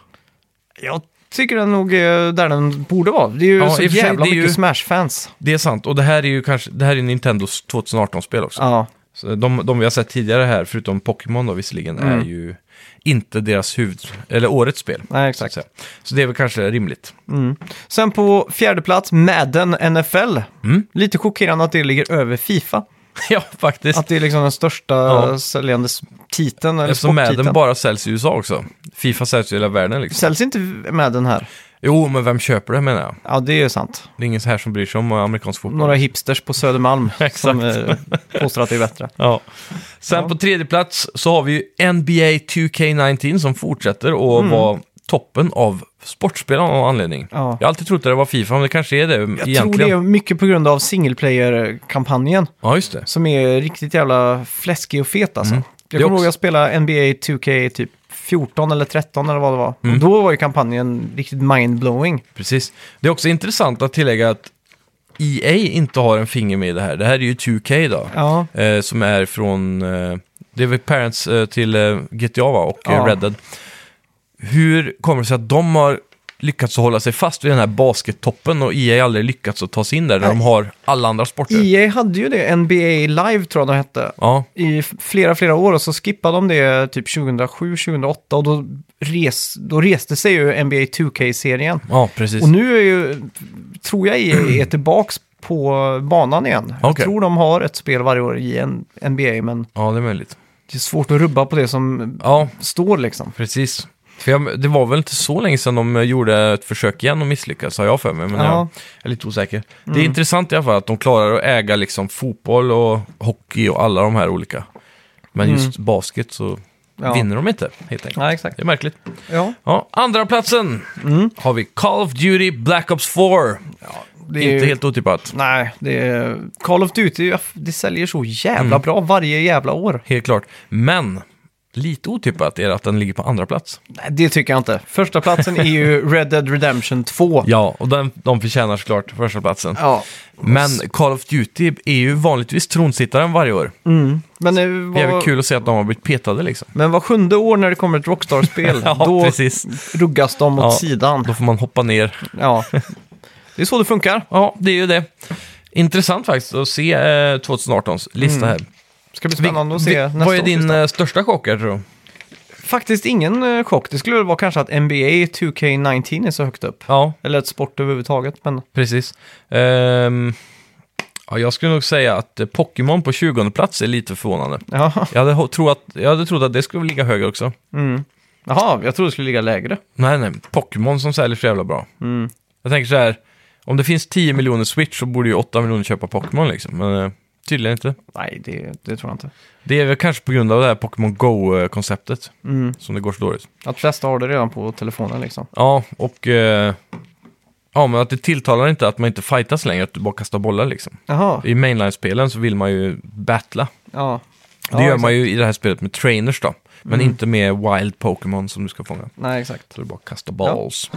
[SPEAKER 1] Jag tycker den nog är där den borde vara. Det är ju
[SPEAKER 2] Ja,
[SPEAKER 1] så
[SPEAKER 2] i och för sig,
[SPEAKER 1] jävla
[SPEAKER 2] det är
[SPEAKER 1] mycket
[SPEAKER 2] ju-
[SPEAKER 1] Smash-fans.
[SPEAKER 2] Det är sant, och det här är ju kanske, det här är Nintendos 2018-spel också.
[SPEAKER 1] Ja.
[SPEAKER 2] Så de, de vi har sett tidigare här, förutom Pokémon då visserligen,
[SPEAKER 1] Mm.
[SPEAKER 2] är ju inte deras huvud, eller årets spel.
[SPEAKER 1] Nej,
[SPEAKER 2] så att
[SPEAKER 1] exakt.
[SPEAKER 2] säga. Så det är väl kanske rimligt.
[SPEAKER 1] Sen på fjärde plats, Madden NFL. Lite chockerande att det ligger över Fifa.
[SPEAKER 2] ja, faktiskt.
[SPEAKER 1] Att det är liksom den största
[SPEAKER 2] Ja.
[SPEAKER 1] säljande s- titeln, eller
[SPEAKER 2] Eftersom Madden
[SPEAKER 1] sporttiteln.
[SPEAKER 2] bara säljs i USA också. Fifa säljs i hela världen liksom.
[SPEAKER 1] Säljs inte Madden här?
[SPEAKER 2] Jo, men vem köper det menar jag?
[SPEAKER 1] Ja, det är ju sant.
[SPEAKER 2] Det är ingen så här som bryr sig om amerikansk fotboll.
[SPEAKER 1] Några hipsters på Södermalm som eh, påstår att det är bättre.
[SPEAKER 2] Ja. Sen
[SPEAKER 1] Ja.
[SPEAKER 2] på tredje plats så har vi ju NBA 2K19 som fortsätter
[SPEAKER 1] Mm.
[SPEAKER 2] att vara toppen av sportspel av någon anledning.
[SPEAKER 1] Ja.
[SPEAKER 2] Jag har alltid trott att det var Fifa, men det kanske är det
[SPEAKER 1] Jag
[SPEAKER 2] egentligen.
[SPEAKER 1] tror det är mycket på grund av single player-kampanjen
[SPEAKER 2] Ja, just det.
[SPEAKER 1] som är riktigt jävla fläskig och fet alltså.
[SPEAKER 2] Mm. Det
[SPEAKER 1] Jag kommer
[SPEAKER 2] också-
[SPEAKER 1] ihåg jag spelade NBA 2K typ 14 eller 13 eller vad det var.
[SPEAKER 2] Mm.
[SPEAKER 1] Och då var ju kampanjen riktigt mindblowing.
[SPEAKER 2] Precis. Det är också intressant att tillägga att EA inte har en finger med i det här. Det här är ju 2K då.
[SPEAKER 1] Ja.
[SPEAKER 2] Eh, som är från... Eh, det är väl Parents eh, till eh, GTA va? och eh,
[SPEAKER 1] Ja.
[SPEAKER 2] Red Dead. Hur kommer det sig att de har lyckats att hålla sig fast vid den här baskettoppen och EA aldrig lyckats att ta sig in där när de har alla andra sporter?
[SPEAKER 1] EA E hade ju det, NBA Live tror jag de hette.
[SPEAKER 2] Ja,
[SPEAKER 1] i f- flera, flera år och så skippade de det typ 2007, 2008 och då, res, då reste sig ju NBA 2K-serien.
[SPEAKER 2] ja precis.
[SPEAKER 1] Och nu är ju, tror jag, E är, är tillbaks på banan igen. Jag
[SPEAKER 2] Okej.
[SPEAKER 1] tror de har ett spel varje år i en NBA, men
[SPEAKER 2] Ja, det är möjligt.
[SPEAKER 1] det är svårt att rubba på det som
[SPEAKER 2] Ja,
[SPEAKER 1] står liksom.
[SPEAKER 2] precis. För jag, det var väl inte så länge sedan de eh, gjorde ett försök igen och misslyckades, har jag för mig. Men
[SPEAKER 1] Ja. Mm.
[SPEAKER 2] jag är lite osäker. Det är intressant i alla fall att de klarar att äga liksom fotboll och hockey och alla de här olika. Men just basket så
[SPEAKER 1] Mm. Ja.
[SPEAKER 2] vinner de inte, helt enkelt.
[SPEAKER 1] Ja, exakt.
[SPEAKER 2] Det är märkligt.
[SPEAKER 1] Ja,
[SPEAKER 2] Ja, andra platsen
[SPEAKER 1] Mm.
[SPEAKER 2] har vi Call of Duty Black Ops 4.
[SPEAKER 1] det är ju-
[SPEAKER 2] inte helt otippat.
[SPEAKER 1] Nej, det är... Call of Duty, det säljer så jävla
[SPEAKER 2] Mm.
[SPEAKER 1] bra varje jävla år.
[SPEAKER 2] Helt klart. Men lite otippat är det att den ligger på andra plats.
[SPEAKER 1] Nej, det tycker jag inte. Första platsen är ju Red Dead Redemption 2.
[SPEAKER 2] Ja, och den, de förtjänar såklart första platsen.
[SPEAKER 1] ja.
[SPEAKER 2] Men Call of Duty är ju vanligtvis tronsittaren varje år.
[SPEAKER 1] Men nu
[SPEAKER 2] Det är
[SPEAKER 1] var...
[SPEAKER 2] väl kul att se att de har blivit petade liksom.
[SPEAKER 1] Men var sjunde år när det kommer ett Rockstar-spel,
[SPEAKER 2] Ja,
[SPEAKER 1] då
[SPEAKER 2] precis.
[SPEAKER 1] ruggas de åt
[SPEAKER 2] Ja.
[SPEAKER 1] sidan.
[SPEAKER 2] Då får man hoppa ner.
[SPEAKER 1] Ja. Det är så det funkar.
[SPEAKER 2] Ja, det är ju det. Intressant faktiskt att se eh, 2018s lista här.
[SPEAKER 1] Ska bli Mm. spännande att se
[SPEAKER 2] Vi-
[SPEAKER 1] nästa
[SPEAKER 2] vad är
[SPEAKER 1] års
[SPEAKER 2] din
[SPEAKER 1] lista.
[SPEAKER 2] eh, största chock här, tror du?
[SPEAKER 1] Faktiskt ingen eh, chock. Det skulle väl vara kanske att NBA 2K19 är så högt upp.
[SPEAKER 2] Ja,
[SPEAKER 1] Eller ett sport överhuvudtaget, men
[SPEAKER 2] precis. Ehm, ja, jag skulle nog säga att eh, Pokémon på 20 plats är lite förvånande.
[SPEAKER 1] ja.
[SPEAKER 2] Jag hade, ho- tro att, jag hade trott att det skulle ligga högre också.
[SPEAKER 1] Jaha, jag trodde det skulle ligga lägre. Mm.
[SPEAKER 2] Nej, nej. Pokémon som säljer så jävla bra. Jag tänker så här, om det finns 10 miljoner Switch så borde ju 8 miljoner köpa Pokémon liksom. Men eh, tydligen inte.
[SPEAKER 1] Nej, det, det tror jag inte.
[SPEAKER 2] Det är väl kanske på grund av det här Pokémon Go-konceptet
[SPEAKER 1] Mm.
[SPEAKER 2] som det går så dåligt.
[SPEAKER 1] Att flesta har det redan på telefonen liksom.
[SPEAKER 2] Ja, och... eh, ja, men att det tilltalar inte att man inte fightas längre, att du bara kastar bollar liksom.
[SPEAKER 1] Jaha,
[SPEAKER 2] I mainline-spelen så vill man ju battla.
[SPEAKER 1] ja.
[SPEAKER 2] Det gör man ju i det här spelet med trainers då. Men inte med wild Pokémon som du ska fånga.
[SPEAKER 1] Nej, exakt.
[SPEAKER 2] Så du bara kastar balls.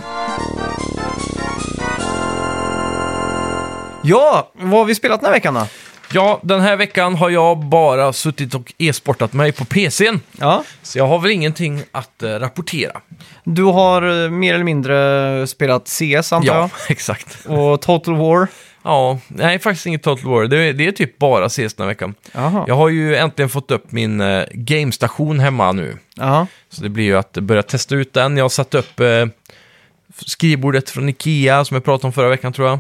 [SPEAKER 1] Ja, vad har vi spelat den här veckan då?
[SPEAKER 2] Ja, den här veckan har jag bara suttit och e-sportat mig på PCn.
[SPEAKER 1] Ja.
[SPEAKER 2] Så jag har väl ingenting att eh, rapportera.
[SPEAKER 1] Du har eh, mer eller mindre spelat CS antar jag?
[SPEAKER 2] exakt.
[SPEAKER 1] Och Total War?
[SPEAKER 2] Ja, nej faktiskt inget Total War. Det är, det är typ bara CS den här veckan.
[SPEAKER 1] Jaha.
[SPEAKER 2] Jag har ju äntligen fått upp min eh, gamestation hemma nu.
[SPEAKER 1] Ja.
[SPEAKER 2] Så det blir ju att börja testa ut den. Jag har satt upp eh, skrivbordet från Ikea som jag pratade om förra veckan tror jag.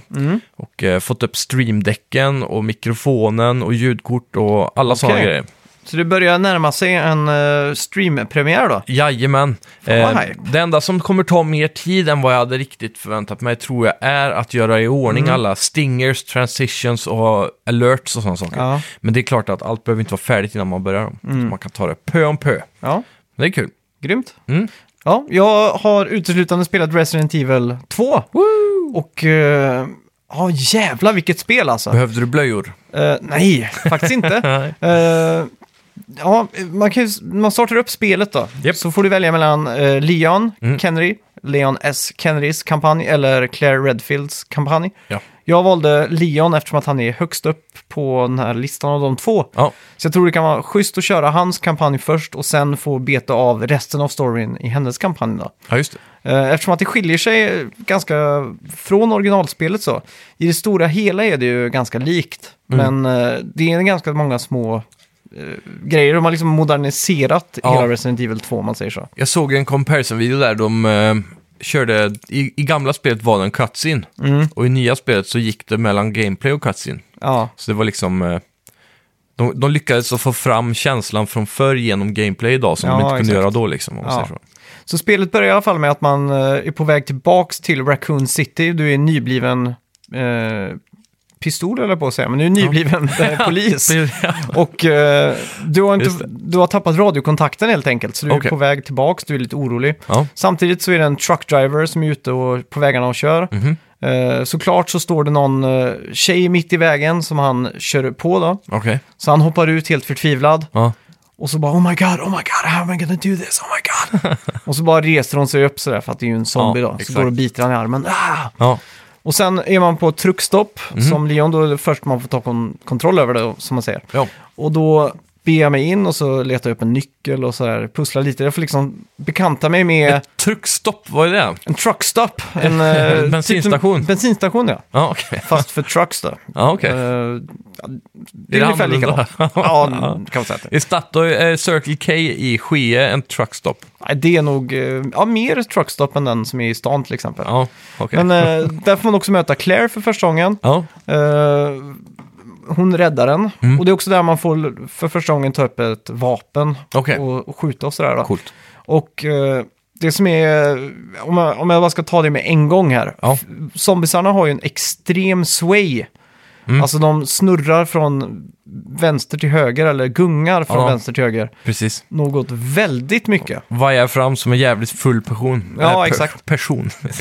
[SPEAKER 2] Och eh, fått upp streamdäcken och mikrofonen och ljudkort och alla sådana
[SPEAKER 1] Okej.
[SPEAKER 2] grejer.
[SPEAKER 1] Så det börjar närma sig en eh, streampremiär då?
[SPEAKER 2] Jajamän.
[SPEAKER 1] vad
[SPEAKER 2] Eh,
[SPEAKER 1] hype.
[SPEAKER 2] det enda som kommer ta mer tid än vad jag hade riktigt förväntat mig tror jag är att göra i ordning alla stingers, transitions och alerts och sådana saker.
[SPEAKER 1] Ja.
[SPEAKER 2] Men det är klart att allt behöver inte vara färdigt innan man börjar dem. Så man kan ta det pö om pö.
[SPEAKER 1] Ja,
[SPEAKER 2] Det är kul.
[SPEAKER 1] grymt.
[SPEAKER 2] Mm.
[SPEAKER 1] Ja, jag har uteslutande spelat Resident Evil 2. Och... eh, Ja, jävlar vilket spel alltså.
[SPEAKER 2] Behövde du blöjor?
[SPEAKER 1] Eh, nej, faktiskt inte.
[SPEAKER 2] Nej.
[SPEAKER 1] Eh, ja, man, kan ju, man startar upp spelet då.
[SPEAKER 2] Japp.
[SPEAKER 1] Så får du välja mellan eh, Leon,
[SPEAKER 2] Mm.
[SPEAKER 1] Kenry, Leon S. Kennedys kampanj eller Claire Redfields kampanj.
[SPEAKER 2] Ja.
[SPEAKER 1] Jag valde Leon eftersom att han är högst upp på den här listan av de två.
[SPEAKER 2] Ja.
[SPEAKER 1] Så jag tror det kan vara schysst att köra hans kampanj först och sen få beta av resten av storyn i hennes kampanj. Då.
[SPEAKER 2] ja, just det.
[SPEAKER 1] Eh, Eftersom att det skiljer sig ganska från originalspelet så. I det stora hela är det ju ganska likt.
[SPEAKER 2] Mm.
[SPEAKER 1] Men eh, det är ganska många små eh, grejer. De har liksom moderniserat
[SPEAKER 2] Ja.
[SPEAKER 1] hela Resident Evil 2 om man säger så.
[SPEAKER 2] Jag såg en comparison-video där de eh, körde, i, i gamla spelet var det en cutscene och i nya spelet så gick det mellan gameplay och cutscene.
[SPEAKER 1] Ja,
[SPEAKER 2] Så det var liksom, eh, de, de lyckades att få fram känslan från förr genom gameplay idag som
[SPEAKER 1] Ja,
[SPEAKER 2] de inte kunde
[SPEAKER 1] exakt.
[SPEAKER 2] göra då liksom. Om man
[SPEAKER 1] Ja.
[SPEAKER 2] säger så.
[SPEAKER 1] Så spelet börjar i alla fall med att man eh, är på väg tillbaks till Raccoon City. Du är nybliven eh, pistol eller på att säga, men du är nybliven eh, polis. Och eh, du, har
[SPEAKER 2] Just
[SPEAKER 1] inte,
[SPEAKER 2] det.
[SPEAKER 1] du har tappat radiokontakten helt enkelt, så du är
[SPEAKER 2] Okej.
[SPEAKER 1] på väg tillbaks, du är lite orolig.
[SPEAKER 2] Ja.
[SPEAKER 1] Samtidigt så är det en truckdriver som är ute och, på vägarna och kör.
[SPEAKER 2] Mhm.
[SPEAKER 1] Eh, såklart så står det någon eh, tjej mitt i vägen som han kör på då.
[SPEAKER 2] Okej.
[SPEAKER 1] Så han hoppar ut helt förtvivlad.
[SPEAKER 2] Ja.
[SPEAKER 1] Och så bara oh my god, oh my god, how am I gonna do this, oh my god. och så bara reser hon sig upp sådär för att det är ju en zombie
[SPEAKER 2] Ja,
[SPEAKER 1] då. Så
[SPEAKER 2] exakt.
[SPEAKER 1] går och biter han i armen. Ah!
[SPEAKER 2] Ja.
[SPEAKER 1] Och sen är man på ett truckstopp
[SPEAKER 2] Mhm.
[SPEAKER 1] som Leon då är det först man får ta kon- kontroll över det som man säger.
[SPEAKER 2] Ja.
[SPEAKER 1] Och då ber jag mig in och så letar jag upp en nyckel och sådär pusslar lite. Jag får liksom bekanta mig med
[SPEAKER 2] Ett truckstopp, vad är det?
[SPEAKER 1] en truckstop. En
[SPEAKER 2] En
[SPEAKER 1] eh,
[SPEAKER 2] bensinstation.
[SPEAKER 1] typ en bensinstation ja.
[SPEAKER 2] Ja, okej.
[SPEAKER 1] Fast för trucks då.
[SPEAKER 2] Ja, okej.
[SPEAKER 1] Eh, ja, det är, ungefär likadant. Ja, kan man säga att det är.
[SPEAKER 2] I Statoil, eh, Circle K i Skee, en truckstop.
[SPEAKER 1] Nej, Det är nog eh, ja, mer truckstop än den som är i stan till exempel.
[SPEAKER 2] Ja, okej.
[SPEAKER 1] Men eh, där får man också möta Claire för första gången.
[SPEAKER 2] Ja,
[SPEAKER 1] Eh, hon räddar en.
[SPEAKER 2] Mm.
[SPEAKER 1] Och det är också där man får för första gången ta upp ett vapen
[SPEAKER 2] Okej.
[SPEAKER 1] och, och skjuta och sådär. Då.
[SPEAKER 2] coolt.
[SPEAKER 1] Och eh, det som är, om jag, om jag bara ska ta det med en gång här.
[SPEAKER 2] Ja.
[SPEAKER 1] Zombisarna har ju en extrem sway.
[SPEAKER 2] Mm.
[SPEAKER 1] Alltså de snurrar från vänster till höger eller gungar från
[SPEAKER 2] Ja.
[SPEAKER 1] vänster till höger.
[SPEAKER 2] Precis.
[SPEAKER 1] Något väldigt mycket.
[SPEAKER 2] Vajar fram som en jävligt full person.
[SPEAKER 1] Ja,
[SPEAKER 2] Eh, per-
[SPEAKER 1] exakt.
[SPEAKER 2] Person.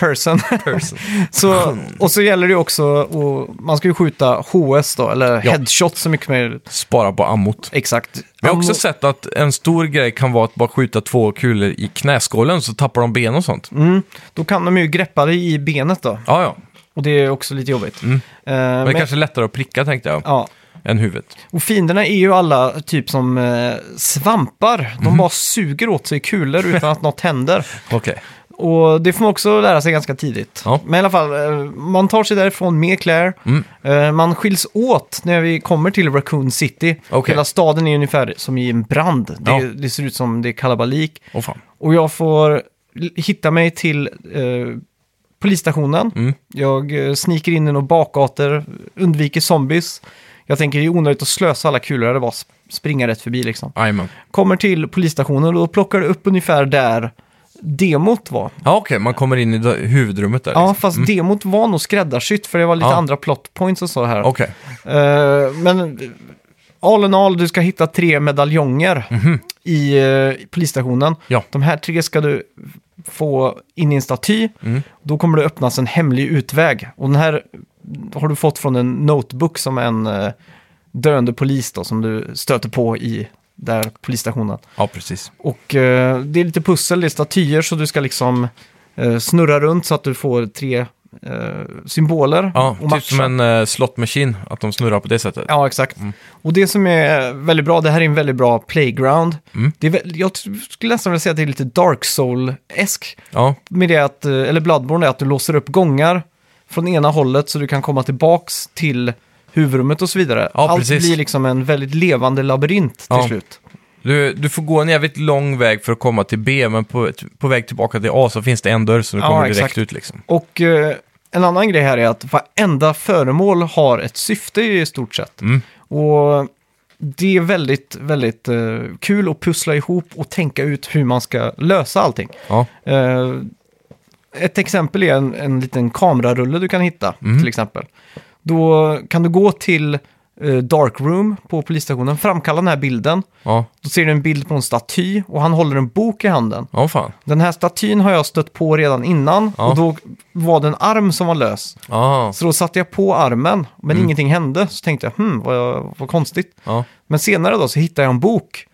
[SPEAKER 1] person. så, och så gäller det ju också, och man ska ju skjuta HS då, eller
[SPEAKER 2] Ja.
[SPEAKER 1] headshot så mycket möjligt.
[SPEAKER 2] Spara på ammot.
[SPEAKER 1] Exakt.
[SPEAKER 2] Jag har också
[SPEAKER 1] Ammo-
[SPEAKER 2] sett att en stor grej kan vara att bara skjuta två kulor i knäskålen så tappar de ben och sånt.
[SPEAKER 1] mm, då kan de ju greppa dig i benet då,
[SPEAKER 2] Ja, ja. Men
[SPEAKER 1] och det är också lite jobbigt. Eh,
[SPEAKER 2] det
[SPEAKER 1] men-
[SPEAKER 2] Mm. kanske är lättare att pricka tänkte jag,
[SPEAKER 1] Ja,
[SPEAKER 2] än huvudet.
[SPEAKER 1] och fienderna är ju alla typ som eh, svampar.
[SPEAKER 2] Mm.
[SPEAKER 1] De bara suger åt sig kulor utan att något händer.
[SPEAKER 2] Okej.
[SPEAKER 1] Och det får man också lära sig ganska tidigt.
[SPEAKER 2] Ja. Mm.
[SPEAKER 1] Men i alla fall, eh, man tar sig därifrån med Claire. Eh, Man skiljs åt när vi kommer till Raccoon City.
[SPEAKER 2] Okej.
[SPEAKER 1] Hela staden är ungefär som i en brand. Det,
[SPEAKER 2] Ja.
[SPEAKER 1] det ser ut som det är kalabalik.
[SPEAKER 2] Åh fan.
[SPEAKER 1] Och jag får l- hitta mig till eh, polisstationen.
[SPEAKER 2] Mm.
[SPEAKER 1] Jag eh, sniker in i några bakgator, undviker zombies. Jag tänker det är onödigt att slösa alla kulor, det bara sp- springa rätt förbi liksom.
[SPEAKER 2] Jajamän.
[SPEAKER 1] Kommer till polisstationen och då plockar det upp ungefär där demot var.
[SPEAKER 2] Ja, okej. Man kommer in i det- huvudrummet där.
[SPEAKER 1] Ja,
[SPEAKER 2] liksom.
[SPEAKER 1] fast demot var nog skräddarsytt för det var lite
[SPEAKER 2] Ja.
[SPEAKER 1] andra plot points och så här.
[SPEAKER 2] Okej.
[SPEAKER 1] Eh, men all in all, du ska hitta tre medaljonger i eh, polisstationen.
[SPEAKER 2] Mhm. Ja.
[SPEAKER 1] De här tre ska du få in i en staty.
[SPEAKER 2] Mm.
[SPEAKER 1] Då kommer det öppnas en hemlig utväg. Och den här har du fått från en notebook som en eh, döende polis då, som du stöter på i där polisstationen.
[SPEAKER 2] Ja, precis.
[SPEAKER 1] Och eh, det är lite pussel, det är statyer så du ska liksom eh, snurra runt så att du får tre eh, symboler.
[SPEAKER 2] Ja,
[SPEAKER 1] och
[SPEAKER 2] typ som en Mm. uh, slottmaskin, att de snurrar på det sättet.
[SPEAKER 1] Ja, exakt. Och det som är väldigt bra, det här är en väldigt bra playground.
[SPEAKER 2] Mm.
[SPEAKER 1] Det är, vä- jag t- skulle nästan vilja säga att det är lite Dark Soul-esk.
[SPEAKER 2] Ja,
[SPEAKER 1] Med det att, eh, eller Bloodborne, är att du låser upp gångar från ena hållet så du kan komma tillbaks till huvudrummet och så vidare.
[SPEAKER 2] Ja,
[SPEAKER 1] Allt
[SPEAKER 2] precis.
[SPEAKER 1] blir liksom en väldigt levande labyrint till
[SPEAKER 2] Ja.
[SPEAKER 1] slut.
[SPEAKER 2] du, du får gå en jävligt lång väg för att komma till B, men på, på väg tillbaka till A så finns det en dörr så du
[SPEAKER 1] Ja,
[SPEAKER 2] kommer direkt
[SPEAKER 1] exakt.
[SPEAKER 2] ut liksom.
[SPEAKER 1] Och eh, en annan grej här är att varenda föremål har ett syfte i stort sett.
[SPEAKER 2] Mm.
[SPEAKER 1] Och det är väldigt, väldigt eh, kul att pussla ihop och tänka ut hur man ska lösa allting.
[SPEAKER 2] Ja,
[SPEAKER 1] Eh, ett exempel är en, en liten kamerarulle du kan hitta, till exempel. Då kan du gå till eh, Dark Room på polisstationen, framkalla den här bilden.
[SPEAKER 2] ja,
[SPEAKER 1] Då ser du en bild på en staty och han håller en bok i handen.
[SPEAKER 2] ja fan.
[SPEAKER 1] Den här statyn har jag stött på redan innan
[SPEAKER 2] Ja.
[SPEAKER 1] och då var det en arm som var lös.
[SPEAKER 2] Ja,
[SPEAKER 1] Så då satte jag på armen, men
[SPEAKER 2] Mm.
[SPEAKER 1] ingenting hände. Så tänkte jag, hmm, vad, vad konstigt.
[SPEAKER 2] ja. Mm.
[SPEAKER 1] Men senare då så hittade jag en bok.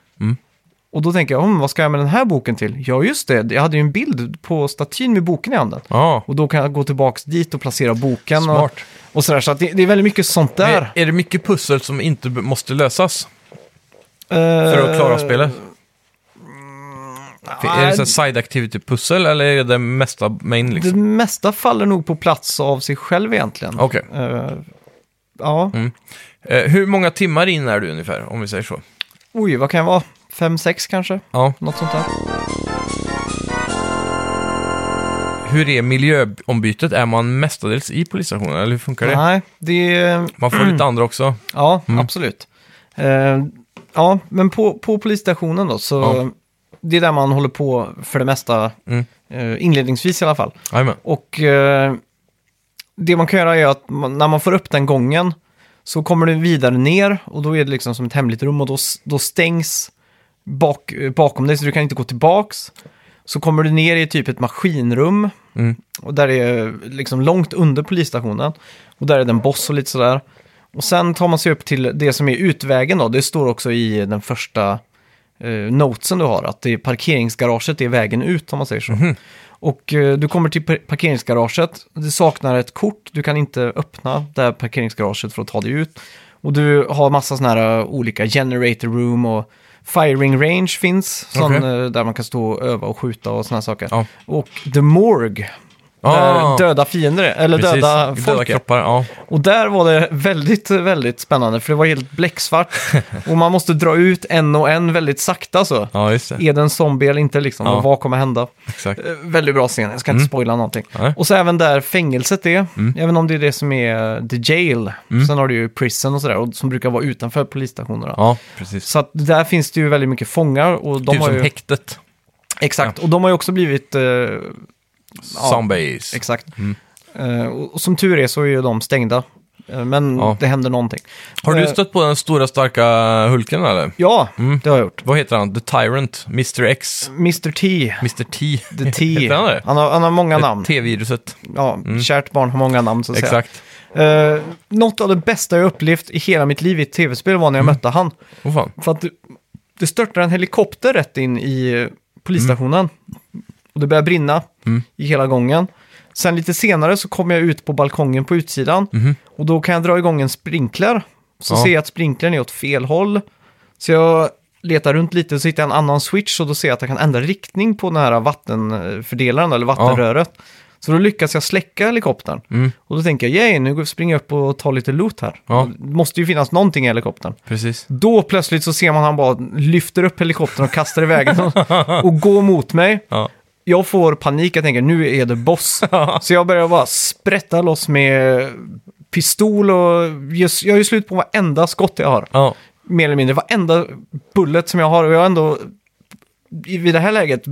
[SPEAKER 1] Och då tänker jag, "Hmm, vad ska jag med den här boken till? Ja, just det, jag hade ju en bild på statyn med boken i handen.
[SPEAKER 2] Ja,
[SPEAKER 1] Och då kan jag gå tillbaka dit och placera boken.
[SPEAKER 2] Smart.
[SPEAKER 1] Och, och sådär, så att det, det är väldigt mycket sånt där.
[SPEAKER 2] Är, är det mycket pussel som inte be- måste lösas
[SPEAKER 1] För
[SPEAKER 2] för
[SPEAKER 1] Eh,
[SPEAKER 2] att klara spelet? Är det så här side activity-pussel eller är det det mesta main
[SPEAKER 1] Det
[SPEAKER 2] liksom?
[SPEAKER 1] mesta faller nog på plats av sig själv egentligen.
[SPEAKER 2] Okej.
[SPEAKER 1] Eh, ja,
[SPEAKER 2] Eh, hur många timmar in är du ungefär, om vi säger så?
[SPEAKER 1] oj, vad kan jag vara? Fem, sex kanske?
[SPEAKER 2] Ja.
[SPEAKER 1] Något sånt där.
[SPEAKER 2] Hur är miljöombytet? Är man mestadels i polisstationen eller hur funkar det? Mm.
[SPEAKER 1] Nej, det är...
[SPEAKER 2] Man får lite andra också.
[SPEAKER 1] Ja, absolut. Eh, ja, men på, på polisstationen då, så
[SPEAKER 2] Ja.
[SPEAKER 1] det är där man håller på för det mesta,
[SPEAKER 2] Mm.
[SPEAKER 1] eh, inledningsvis i alla fall.
[SPEAKER 2] Jajamän.
[SPEAKER 1] Och eh, det man kan göra är att man, när man får upp den gången så kommer du vidare ner och då är det liksom som ett hemligt rum och då, s- då stängs bak, eh, bakom dig så du kan inte gå tillbaks. Så kommer du ner i typ ett maskinrum
[SPEAKER 2] Mm.
[SPEAKER 1] och där är liksom långt under polisstationen och där är den boss och lite sådär. Och sen tar man sig upp till det som är utvägen då. Det står också i den första eh, notesen du har att det är parkeringsgaraget är vägen ut om man säger så.
[SPEAKER 2] Mhm.
[SPEAKER 1] Och eh, du kommer till par- parkeringsgaraget. Du saknar ett kort. Du kan inte öppna det här parkeringsgaraget för att ta dig ut. Och du har massa sådana här eh, olika generator room och firing range finns. Sån,
[SPEAKER 2] Okej.
[SPEAKER 1] eh, Där man kan stå och öva och skjuta och sådana saker.
[SPEAKER 2] Ja.
[SPEAKER 1] Och the morgue.
[SPEAKER 2] Ah,
[SPEAKER 1] Där döda fiender är, eller
[SPEAKER 2] precis.
[SPEAKER 1] döda
[SPEAKER 2] döda
[SPEAKER 1] folk är.
[SPEAKER 2] kroppar. Ja.
[SPEAKER 1] Och där var det väldigt, väldigt spännande för det var helt bläcksvart. och man måste dra ut en och en väldigt sakta så.
[SPEAKER 2] ja, just det.
[SPEAKER 1] Är det en zombie eller inte liksom?
[SPEAKER 2] Ja. Mm.
[SPEAKER 1] Och vad kommer hända?
[SPEAKER 2] Exakt.
[SPEAKER 1] Eh, Väldigt bra scen, jag ska inte spoila någonting.
[SPEAKER 2] Nej.
[SPEAKER 1] Och så även där fängelset är,
[SPEAKER 2] Mm.
[SPEAKER 1] även om det är det som är eh, the jail. Sen har du ju prison och sådär, och som brukar vara utanför polisstationerna.
[SPEAKER 2] Ja, precis.
[SPEAKER 1] Så att där finns det ju väldigt mycket fångar och de
[SPEAKER 2] typ
[SPEAKER 1] har
[SPEAKER 2] som
[SPEAKER 1] ju...
[SPEAKER 2] häktet.
[SPEAKER 1] Exakt, och de har ju också blivit... eh,
[SPEAKER 2] Zombies.
[SPEAKER 1] exakt.
[SPEAKER 2] Mm.
[SPEAKER 1] Eh, och, och som tur är så är ju de stängda. Eh, men
[SPEAKER 2] Ja.
[SPEAKER 1] det händer någonting.
[SPEAKER 2] Har du
[SPEAKER 1] Eh,
[SPEAKER 2] stött på den stora starka Hulken eller?
[SPEAKER 1] Ja,
[SPEAKER 2] Mm.
[SPEAKER 1] det har jag gjort.
[SPEAKER 2] Vad heter han? The Tyrant? Mr X?
[SPEAKER 1] Mr T,
[SPEAKER 2] Mr T?
[SPEAKER 1] The T.
[SPEAKER 2] Heter han det?
[SPEAKER 1] han, har, han har många namn.
[SPEAKER 2] T-viruset.
[SPEAKER 1] Ja, Kärt barn har många namn så att säga.
[SPEAKER 2] Exakt.
[SPEAKER 1] Eh, något av det bästa jag upplevt i hela mitt liv i ett tv-spel var
[SPEAKER 2] Mm.
[SPEAKER 1] när jag mötte han.
[SPEAKER 2] Åh fan.
[SPEAKER 1] För att det, det störtade en helikopter rätt in i eh, polisstationen. Och det började brinna
[SPEAKER 2] Mm.
[SPEAKER 1] i hela gången. Sen lite senare så kommer jag ut på balkongen på utsidan. Och då kan jag dra igång en sprinkler. Så
[SPEAKER 2] Mm-hmm. Ja.
[SPEAKER 1] ser jag att sprinklern är åt fel håll. Så jag letar runt lite och så hittar jag en annan switch och då ser jag att jag kan ändra riktning på den här vattenfördelaren eller vattenröret. Så då lyckas jag släcka helikoptern. Och då tänker jag, yay, nu går- springer jag upp och tar lite loot här.
[SPEAKER 2] Mm. Ja.
[SPEAKER 1] Det måste ju finnas någonting i helikoptern.
[SPEAKER 2] Precis.
[SPEAKER 1] Då plötsligt så ser man han bara lyfter upp helikoptern och kastar iväg den och- och går mot mig.
[SPEAKER 2] Ja.
[SPEAKER 1] Jag får panik, jag tänker nu är det boss. Så jag börjar bara sprätta loss med pistol och just, jag har ju slut på varenda skott jag har.
[SPEAKER 2] Ja.
[SPEAKER 1] Mer eller mindre, varenda bullet som jag har. Och jag har ändå i- vid det här läget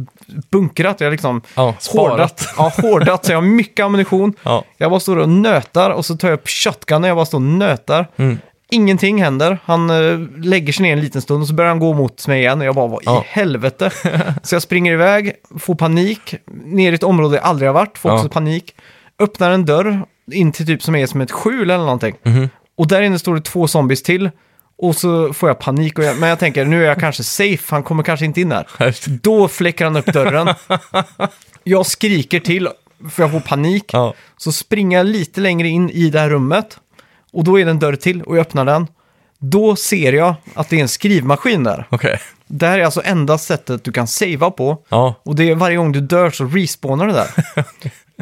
[SPEAKER 1] bunkrat, jag har liksom
[SPEAKER 2] Ja, sparat.
[SPEAKER 1] hårdat. Ja, hårdat, så jag har mycket ammunition.
[SPEAKER 2] Ja.
[SPEAKER 1] Jag bara står och nötar och så tar jag upp shotgunen och jag bara står och nötar.
[SPEAKER 2] Mm.
[SPEAKER 1] Ingenting händer. Han eh, lägger sig ner en liten stund och så börjar han gå mot mig igen och jag bara, vad
[SPEAKER 2] Ja.
[SPEAKER 1] i helvete? så jag springer iväg, får panik, ner i ett område jag aldrig har varit, får
[SPEAKER 2] Ja.
[SPEAKER 1] också panik, öppnar en dörr in till typ som är som ett skjul eller någonting.
[SPEAKER 2] Mhm.
[SPEAKER 1] Och där inne står det två zombies till. Och så får jag panik, och jag, men jag tänker nu är jag kanske safe, han kommer kanske inte in där. Då fläcker han upp dörren. Jag skriker till, för jag får panik.
[SPEAKER 2] Ja.
[SPEAKER 1] Så springer jag lite längre in i det här rummet. Och då är det en dörr till och jag öppnar den. Då ser jag att det är en skrivmaskin där.
[SPEAKER 2] Okej.
[SPEAKER 1] Det här är alltså enda sättet du kan savea på.
[SPEAKER 2] Ja.
[SPEAKER 1] Och det är varje gång du dör så respawnar det där.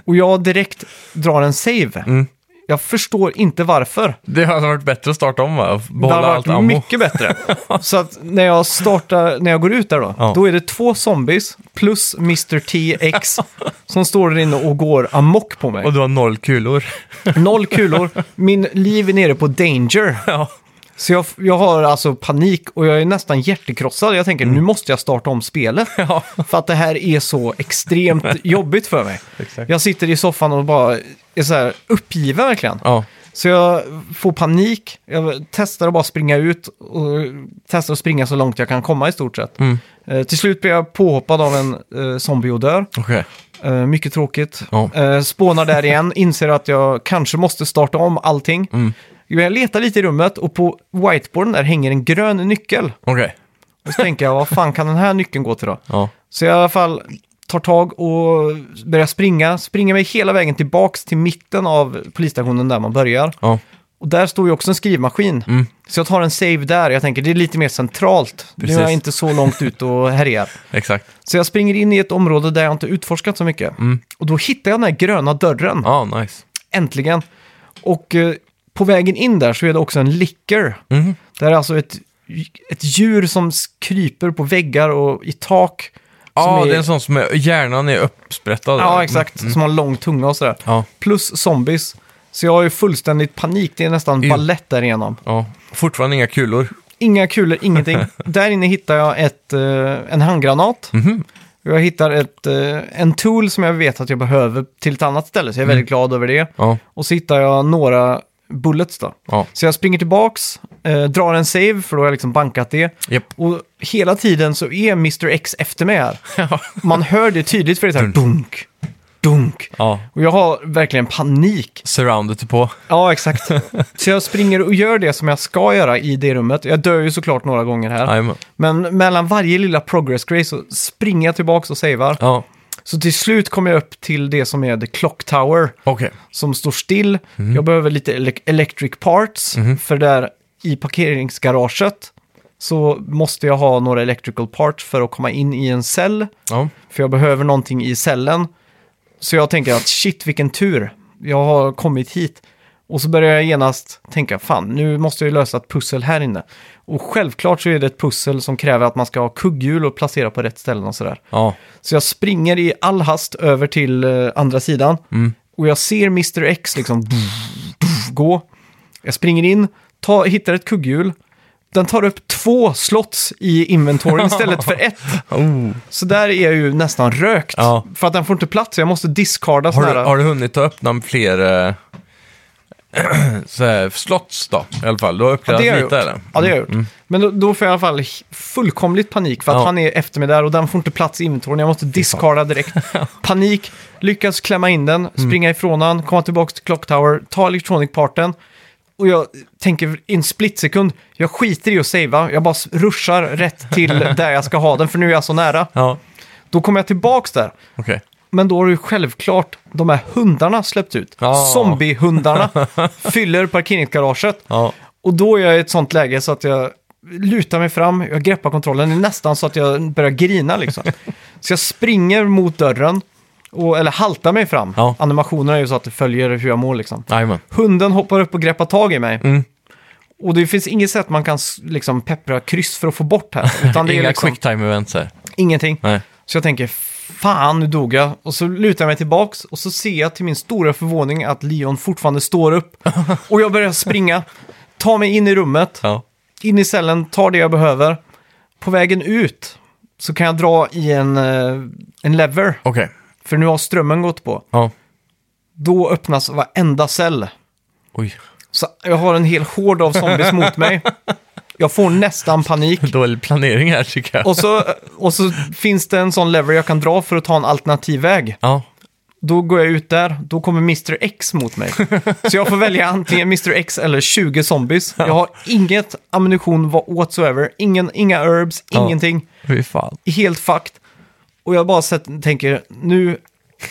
[SPEAKER 1] och jag direkt drar en save.
[SPEAKER 2] Mm.
[SPEAKER 1] Jag förstår inte varför.
[SPEAKER 2] Det hade varit bättre att starta om va?
[SPEAKER 1] Det
[SPEAKER 2] Behålla
[SPEAKER 1] hade
[SPEAKER 2] allt
[SPEAKER 1] varit
[SPEAKER 2] ammo.
[SPEAKER 1] mycket bättre. Så att när jag startar, när jag går ut där då,
[SPEAKER 2] Ja.
[SPEAKER 1] då är det två zombies plus Mr. TX som står där inne och går amok på mig.
[SPEAKER 2] Och du har noll kulor.
[SPEAKER 1] Noll kulor, min liv är nere på danger.
[SPEAKER 2] ja.
[SPEAKER 1] Så jag, jag har alltså panik och jag är nästan hjärtekrossad. Jag tänker nu måste jag starta om spelet.
[SPEAKER 2] Mm. Ja.
[SPEAKER 1] För att det här är så extremt jobbigt för mig.
[SPEAKER 2] Exakt.
[SPEAKER 1] Jag sitter i soffan och bara är så här uppgiven verkligen.
[SPEAKER 2] Ja.
[SPEAKER 1] Så jag får panik, jag testar att bara springa ut och testar att springa så långt jag kan komma i stort sett.
[SPEAKER 2] Mm.
[SPEAKER 1] Eh, till slut blir jag påhoppad av en eh, zombie och dör.
[SPEAKER 2] Okej.
[SPEAKER 1] Eh, mycket tråkigt.
[SPEAKER 2] Ja.
[SPEAKER 1] Eh, spånar där igen, inser att jag kanske måste starta om allting.
[SPEAKER 2] Mm.
[SPEAKER 1] Jag letar lite i rummet och på whiteboarden där hänger en grön nyckel.
[SPEAKER 2] Okej.
[SPEAKER 1] Och så tänker jag, vad fan kan den här nyckeln gå till då?
[SPEAKER 2] Ja.
[SPEAKER 1] Så jag i alla fall tar tag och börjar springa. Springer mig hela vägen tillbaks till mitten av polisstationen där man börjar.
[SPEAKER 2] Ja.
[SPEAKER 1] Och där står ju också en skrivmaskin.
[SPEAKER 2] Mm.
[SPEAKER 1] Så jag tar en save där. Jag tänker det är lite mer centralt. Nu är jag
[SPEAKER 2] Precis.
[SPEAKER 1] inte så långt ut och härjar.
[SPEAKER 2] Exakt.
[SPEAKER 1] Så jag springer in i ett område där jag inte utforskat så mycket. Och då hittar jag den här gröna dörren.
[SPEAKER 2] Mm. Ja, nice.
[SPEAKER 1] Äntligen. Och eh, på vägen in där så är det också en licker.
[SPEAKER 2] Mhm.
[SPEAKER 1] Det är alltså ett, ett djur som kryper på väggar och i tak.
[SPEAKER 2] Ja,
[SPEAKER 1] Som är-
[SPEAKER 2] det är en sån Mm. som är, hjärnan är uppsprättad.
[SPEAKER 1] Ja, exakt. Som har lång tunga och sådär.
[SPEAKER 2] Ja,
[SPEAKER 1] Plus zombies. Så jag har ju fullständigt panik. Det är nästan
[SPEAKER 2] Jo.
[SPEAKER 1] ballett därigenom.
[SPEAKER 2] ja. Fortfarande inga kulor.
[SPEAKER 1] Inga kulor, ingenting. Där inne hittar jag ett, eh, en handgranat.
[SPEAKER 2] Mhm.
[SPEAKER 1] Jag hittar ett, eh, en tool som jag vet att jag behöver till ett annat ställe, så jag är väldigt glad över det.
[SPEAKER 2] Ja,
[SPEAKER 1] Och så hittar jag några bullets då.
[SPEAKER 2] ja.
[SPEAKER 1] Så jag springer tillbaks, eh, drar en save, för då har jag liksom bankat det.
[SPEAKER 2] Japp.
[SPEAKER 1] Och hela tiden så är Mr X efter mig här.
[SPEAKER 2] Ja.
[SPEAKER 1] Man hör det tydligt för det är så här dunk, dunk.
[SPEAKER 2] ja.
[SPEAKER 1] Och jag har verkligen panik.
[SPEAKER 2] Surroundet på.
[SPEAKER 1] Ja, exakt. Så jag springer och gör det som jag ska göra i det rummet. Jag dör ju såklart några gånger här.
[SPEAKER 2] Jajamän.
[SPEAKER 1] Men mellan varje lilla progress grej så springer jag tillbaka och savear.
[SPEAKER 2] Ja,
[SPEAKER 1] Så till slut kommer jag upp till det som är The Clock Tower,
[SPEAKER 2] okej.
[SPEAKER 1] som står still. Jag behöver lite ele- electric parts, för där i parkeringsgaraget så måste jag ha några electrical parts för att komma in i en cell.
[SPEAKER 2] Ja.
[SPEAKER 1] För jag behöver någonting i cellen. Så jag tänker att shit vilken tur, jag har kommit hit. Och så börjar jag genast tänka, fan nu måste jag ju lösa ett pussel här inne. Och självklart så är det ett pussel som kräver att man ska ha kugghjul och placera på rätt ställen och sådär.
[SPEAKER 2] ja.
[SPEAKER 1] Så jag springer i all hast över till eh, andra sidan.
[SPEAKER 2] Mm.
[SPEAKER 1] Och jag ser Mr X liksom gå. Jag springer in, ta, hittar ett kugghjul. Den tar upp två slots i inventory istället för ett. Så där är jag ju nästan rökt.
[SPEAKER 2] Ja.
[SPEAKER 1] För att den får inte plats, så jag måste discarda
[SPEAKER 2] Har,
[SPEAKER 1] sådana
[SPEAKER 2] du,
[SPEAKER 1] här.
[SPEAKER 2] har du hunnit att öppna fler eh, så här, slots då? I alla fall. Du har
[SPEAKER 1] Ja,
[SPEAKER 2] uppgraderat
[SPEAKER 1] det har jag gjort.
[SPEAKER 2] lite eller?
[SPEAKER 1] Ja, det har jag gjort. Men då, då får jag i alla fall h- fullkomligt panik för att
[SPEAKER 2] Mm. Ja.
[SPEAKER 1] han är efter mig där och den får inte plats i inventoryn. Jag måste discarda direkt. panik, lyckas klämma in den,
[SPEAKER 2] Mm.
[SPEAKER 1] springa ifrån den, komma tillbaka till Clock Tower, ta Electronic-parten. Och jag tänker i en splitsekund, jag skiter i att savea, jag bara s- ruschar rätt till där jag ska ha den för nu är jag så nära.
[SPEAKER 2] Ja,
[SPEAKER 1] Då kommer jag tillbaks där.
[SPEAKER 2] okej.
[SPEAKER 1] Men då har ju självklart de här hundarna släppt ut.
[SPEAKER 2] Ja.
[SPEAKER 1] Zombiehundarna fyller parkeringsgaraget.
[SPEAKER 2] Ja.
[SPEAKER 1] Och då är jag i ett sånt läge så att jag lutar mig fram, jag greppar kontrollen, det är nästan så att jag börjar grina liksom. så jag springer mot dörren, och, eller haltar mig fram.
[SPEAKER 2] Ja.
[SPEAKER 1] Animationerna är ju så att det följer hur jag mår liksom.
[SPEAKER 2] Jajamän.
[SPEAKER 1] Hunden hoppar upp och greppar tag i mig.
[SPEAKER 2] Mm.
[SPEAKER 1] Och det finns inget sätt man kan s- liksom peppra kryss för att få bort här. Utan det är
[SPEAKER 2] Inga
[SPEAKER 1] liksom
[SPEAKER 2] quick time events här.
[SPEAKER 1] ingenting.
[SPEAKER 2] Nej.
[SPEAKER 1] Så jag tänker, fan nu dog jag. Och så lutar jag mig tillbaks och så ser jag till min stora förvåning att Leon fortfarande står upp. Och jag börjar springa, ta mig in i rummet,
[SPEAKER 2] Ja.
[SPEAKER 1] in i cellen, tar det jag behöver. På vägen ut så kan jag dra i en, eh, en lever,
[SPEAKER 2] Okej.
[SPEAKER 1] för nu har strömmen gått på.
[SPEAKER 2] Ja.
[SPEAKER 1] Då öppnas varenda cell.
[SPEAKER 2] Oj.
[SPEAKER 1] Så jag har en hel hord av zombies mot mig. Jag får nästan panik.
[SPEAKER 2] Dålig planering här tycker jag.
[SPEAKER 1] Och så, och så finns det en sån lever jag kan dra för att ta en alternativ väg.
[SPEAKER 2] Ja.
[SPEAKER 1] Då går jag ut där, då kommer Mr X mot mig. Så jag får välja antingen Mr X eller 20 zombies. Jag har inget ammunition wa- whatsoever, ingen, inga herbs,
[SPEAKER 2] Ja.
[SPEAKER 1] ingenting.
[SPEAKER 2] Fy fan.
[SPEAKER 1] Helt fucked. Och jag bara sett, tänker, nu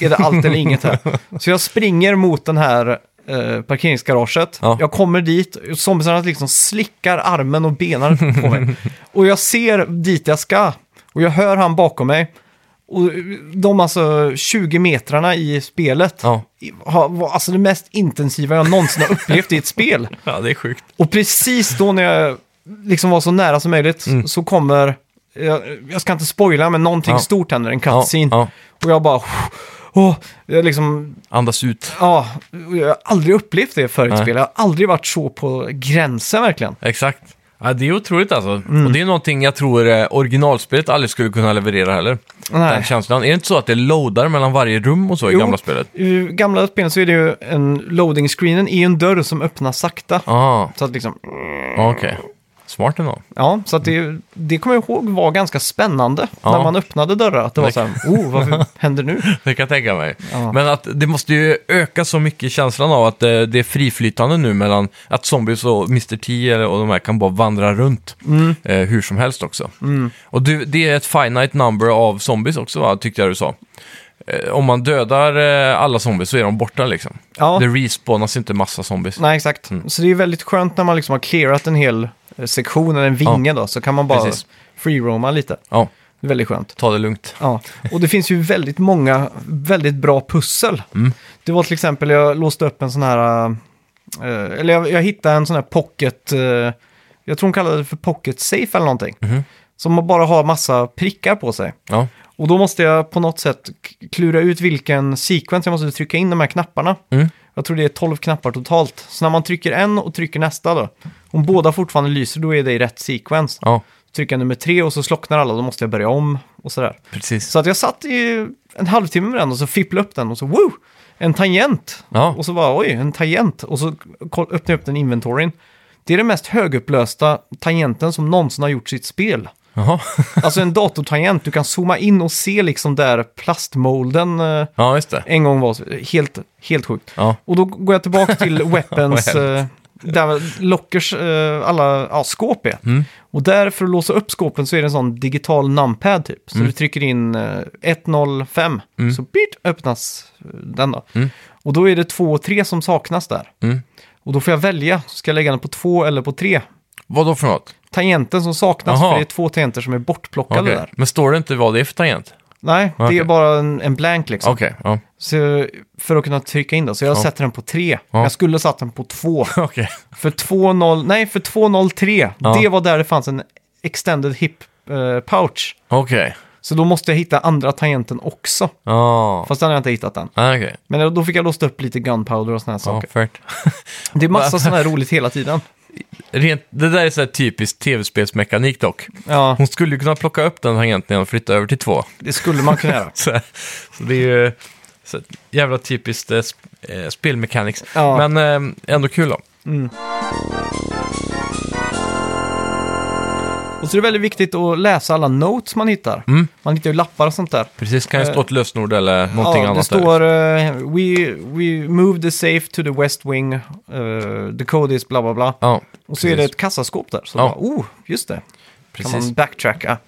[SPEAKER 1] är det allt eller inget här. Så jag springer mot den här eh, parkeringsgaraget.
[SPEAKER 2] Ja.
[SPEAKER 1] Jag kommer dit, och zombiesarna liksom slickar armen och benen på mig. och jag ser dit jag ska. Och jag hör han bakom mig. Och de alltså 20 metrarna i spelet
[SPEAKER 2] Ja.
[SPEAKER 1] i- har- var alltså det mest intensiva jag någonsin har upplevt i ett spel.
[SPEAKER 2] Ja, det är sjukt.
[SPEAKER 1] Och precis då när jag liksom var så nära som möjligt så kommer, jag, jag ska inte spoila, men någonting
[SPEAKER 2] Mm. Ja.
[SPEAKER 1] stort händer, en
[SPEAKER 2] Ja,
[SPEAKER 1] cutscene.
[SPEAKER 2] ja.
[SPEAKER 1] Och jag bara, åh, jag liksom,
[SPEAKER 2] Andas ut.
[SPEAKER 1] ja, jag har aldrig upplevt det förut i ett
[SPEAKER 2] Nej.
[SPEAKER 1] spel. Jag har aldrig varit så på gränsen verkligen.
[SPEAKER 2] Exakt. Ja, det är otroligt alltså.
[SPEAKER 1] Mm.
[SPEAKER 2] Och det är någonting jag tror eh, originalspelet aldrig skulle kunna leverera heller.
[SPEAKER 1] Nej.
[SPEAKER 2] Den känslan. Är det inte så att det loadar mellan varje rum och så i
[SPEAKER 1] Jo,
[SPEAKER 2] gamla spelet?
[SPEAKER 1] I gamla spelen så är det ju en loading-screenen i en dörr som öppnas sakta.
[SPEAKER 2] Ah,
[SPEAKER 1] Så att liksom,
[SPEAKER 2] okej. Så Smart ändå.
[SPEAKER 1] Ja, så att det, det kommer jag ihåg var ganska spännande
[SPEAKER 2] Ja.
[SPEAKER 1] när man öppnade dörrar. Att det var
[SPEAKER 2] Det-
[SPEAKER 1] så här, oh, vad händer nu?
[SPEAKER 2] Det kan jag tänka mig.
[SPEAKER 1] Ja.
[SPEAKER 2] Men att det måste ju öka så mycket känslan av att eh, det är friflytande nu mellan att zombies och Mr. T eller- och de här kan bara vandra runt
[SPEAKER 1] Mm.
[SPEAKER 2] eh, hur som helst också. Och du, det är ett finite number av zombies också va, tyckte jag du sa. Eh, Om man dödar eh, alla zombies så är de borta liksom.
[SPEAKER 1] Ja.
[SPEAKER 2] Det respawnas inte massa zombies.
[SPEAKER 1] Nej, exakt.
[SPEAKER 2] Mm.
[SPEAKER 1] Så det är väldigt skönt när man liksom har clearat en hel eh, sektion eller en vinge då, så kan man bara
[SPEAKER 2] Precis.
[SPEAKER 1] free-roama lite.
[SPEAKER 2] Ja,
[SPEAKER 1] Det är väldigt skönt.
[SPEAKER 2] ta det lugnt.
[SPEAKER 1] Ja, och det finns ju väldigt många väldigt bra pussel.
[SPEAKER 2] Mm.
[SPEAKER 1] Det var till exempel, jag låste upp en sån här, eh, eller jag, jag hittade en sån här pocket, eh, jag tror hon kallade det för pocket safe eller någonting.
[SPEAKER 2] Mm-hmm.
[SPEAKER 1] Som bara har massa prickar på sig.
[SPEAKER 2] Ja,
[SPEAKER 1] Och då måste jag på något sätt k- klura ut vilken sekvens jag måste trycka in de här knapparna.
[SPEAKER 2] Mm.
[SPEAKER 1] Jag tror det är 12 knappar totalt. Så när man trycker en och trycker nästa då, om båda fortfarande lyser då är det i rätt sekvens.
[SPEAKER 2] ja
[SPEAKER 1] Trycker jag nummer tre och så slocknar alla, då måste jag börja om och sådär.
[SPEAKER 2] precis.
[SPEAKER 1] Så att jag satt i en halvtimme med den och så fipplade upp den och så woo! En tangent!
[SPEAKER 2] Ja.
[SPEAKER 1] Och så bara oj, en tangent! Och så koll- öppnade jag upp den inventoryn. Det är den mest högupplösta tangenten som någonsin har gjort sitt spel.
[SPEAKER 2] Jaha.
[SPEAKER 1] Alltså en datortangent, du kan zooma in och se liksom där plastmolden eh,
[SPEAKER 2] Ja, just det.
[SPEAKER 1] en gång var. så- Helt, helt sjukt.
[SPEAKER 2] Ja.
[SPEAKER 1] Och då går jag tillbaka till Weapons,
[SPEAKER 2] Vad
[SPEAKER 1] eh, där Lockers eh, alla ja, skåp är.
[SPEAKER 2] Mm.
[SPEAKER 1] Och där för att låsa upp skåpen så är det en sån digital numpad typ.
[SPEAKER 2] Mm.
[SPEAKER 1] Så du trycker in eh, 105, så birt, öppnas eh, den då. Och då är det två och tre som saknas där.
[SPEAKER 2] Mm.
[SPEAKER 1] Och då får jag välja, ska jag lägga den på två eller på tre?
[SPEAKER 2] Vad då för något?
[SPEAKER 1] Tangenten som saknas,
[SPEAKER 2] Aha.
[SPEAKER 1] för det är två tangenter som är bortplockade
[SPEAKER 2] Okej.
[SPEAKER 1] där.
[SPEAKER 2] Men står det inte vad det är för tangent?
[SPEAKER 1] Nej, det
[SPEAKER 2] Okej.
[SPEAKER 1] är bara en, en blank liksom.
[SPEAKER 2] Okej, ja.
[SPEAKER 1] Så, för att kunna trycka in det. Så jag
[SPEAKER 2] Ja.
[SPEAKER 1] sätter den på tre.
[SPEAKER 2] Ja.
[SPEAKER 1] Jag skulle ha satt den på två.
[SPEAKER 2] Okej.
[SPEAKER 1] För 2.0, nej för 2.03,
[SPEAKER 2] Ja.
[SPEAKER 1] det var där det fanns en extended hip eh, pouch.
[SPEAKER 2] Okej.
[SPEAKER 1] Så då måste jag hitta andra tangenten också.
[SPEAKER 2] Ja.
[SPEAKER 1] Fast den har jag inte hittat än.
[SPEAKER 2] Ah, okej.
[SPEAKER 1] Men då fick jag låsa upp lite gunpowder och sådana här
[SPEAKER 2] Ja,
[SPEAKER 1] saker.
[SPEAKER 2] färt.
[SPEAKER 1] Det är massa sådana här roligt hela tiden.
[SPEAKER 2] Rent, det där är så här typiskt tv-spelsmekanik dock.
[SPEAKER 1] Ja,
[SPEAKER 2] Hon skulle ju kunna plocka upp den tangenten och flytta över till två.
[SPEAKER 1] det skulle man kunna göra.
[SPEAKER 2] Så, här, så det är ju så här jävla typiskt eh, sp eh, spelmekanics.
[SPEAKER 1] Ja.
[SPEAKER 2] Men eh, ändå kul då.
[SPEAKER 1] Och så är det väldigt viktigt att läsa alla notes man hittar.
[SPEAKER 2] Mm.
[SPEAKER 1] Man hittar ju lappar och sånt där.
[SPEAKER 2] Precis, kan ju stå ett lösenord eller någonting
[SPEAKER 1] Eh, ja,
[SPEAKER 2] annat.
[SPEAKER 1] det
[SPEAKER 2] där.
[SPEAKER 1] står eh, we, we move the safe to the west wing, eh, the code is bla bla bla.
[SPEAKER 2] Ja,
[SPEAKER 1] och så är det
[SPEAKER 2] precis.
[SPEAKER 1] ett kassaskåp där. Så
[SPEAKER 2] Ja.
[SPEAKER 1] bara, oh, just det. Kan
[SPEAKER 2] precis.
[SPEAKER 1] man backtracka.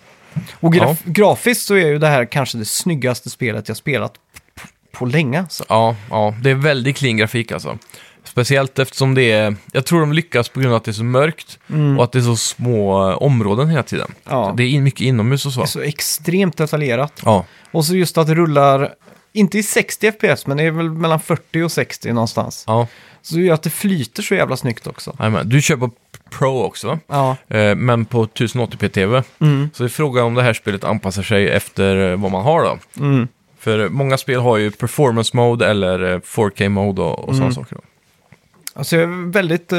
[SPEAKER 1] Och graf- grafiskt så är ju det här kanske det snyggaste spelet jag spelat p- på länge. Så.
[SPEAKER 2] Ja, ja, det är väldigt clean grafik alltså. Speciellt eftersom det är, jag tror de lyckas på grund av att det är så mörkt och att det är så små eh, områden hela tiden.
[SPEAKER 1] Mm. Ja.
[SPEAKER 2] Det är in- mycket inomhus och så.
[SPEAKER 1] så extremt detaljerat.
[SPEAKER 2] Ja,
[SPEAKER 1] Och så just att det rullar, inte i 60 FPS, men det är väl mellan 40 och 60 någonstans.
[SPEAKER 2] ja.
[SPEAKER 1] Så det gör att det flyter så jävla snyggt också.
[SPEAKER 2] Jajamän. Du kör på Pro också va?
[SPEAKER 1] Ja,
[SPEAKER 2] Eh, men på 1080p-tv.
[SPEAKER 1] Mm.
[SPEAKER 2] Så det är frågan om det här spelet anpassar sig efter eh, vad man har då.
[SPEAKER 1] Mm.
[SPEAKER 2] För eh, många spel har ju performance mode eller eh, 4K mode och, och
[SPEAKER 1] Mm.
[SPEAKER 2] sådana saker. Då.
[SPEAKER 1] alltså jag är väldigt, eh,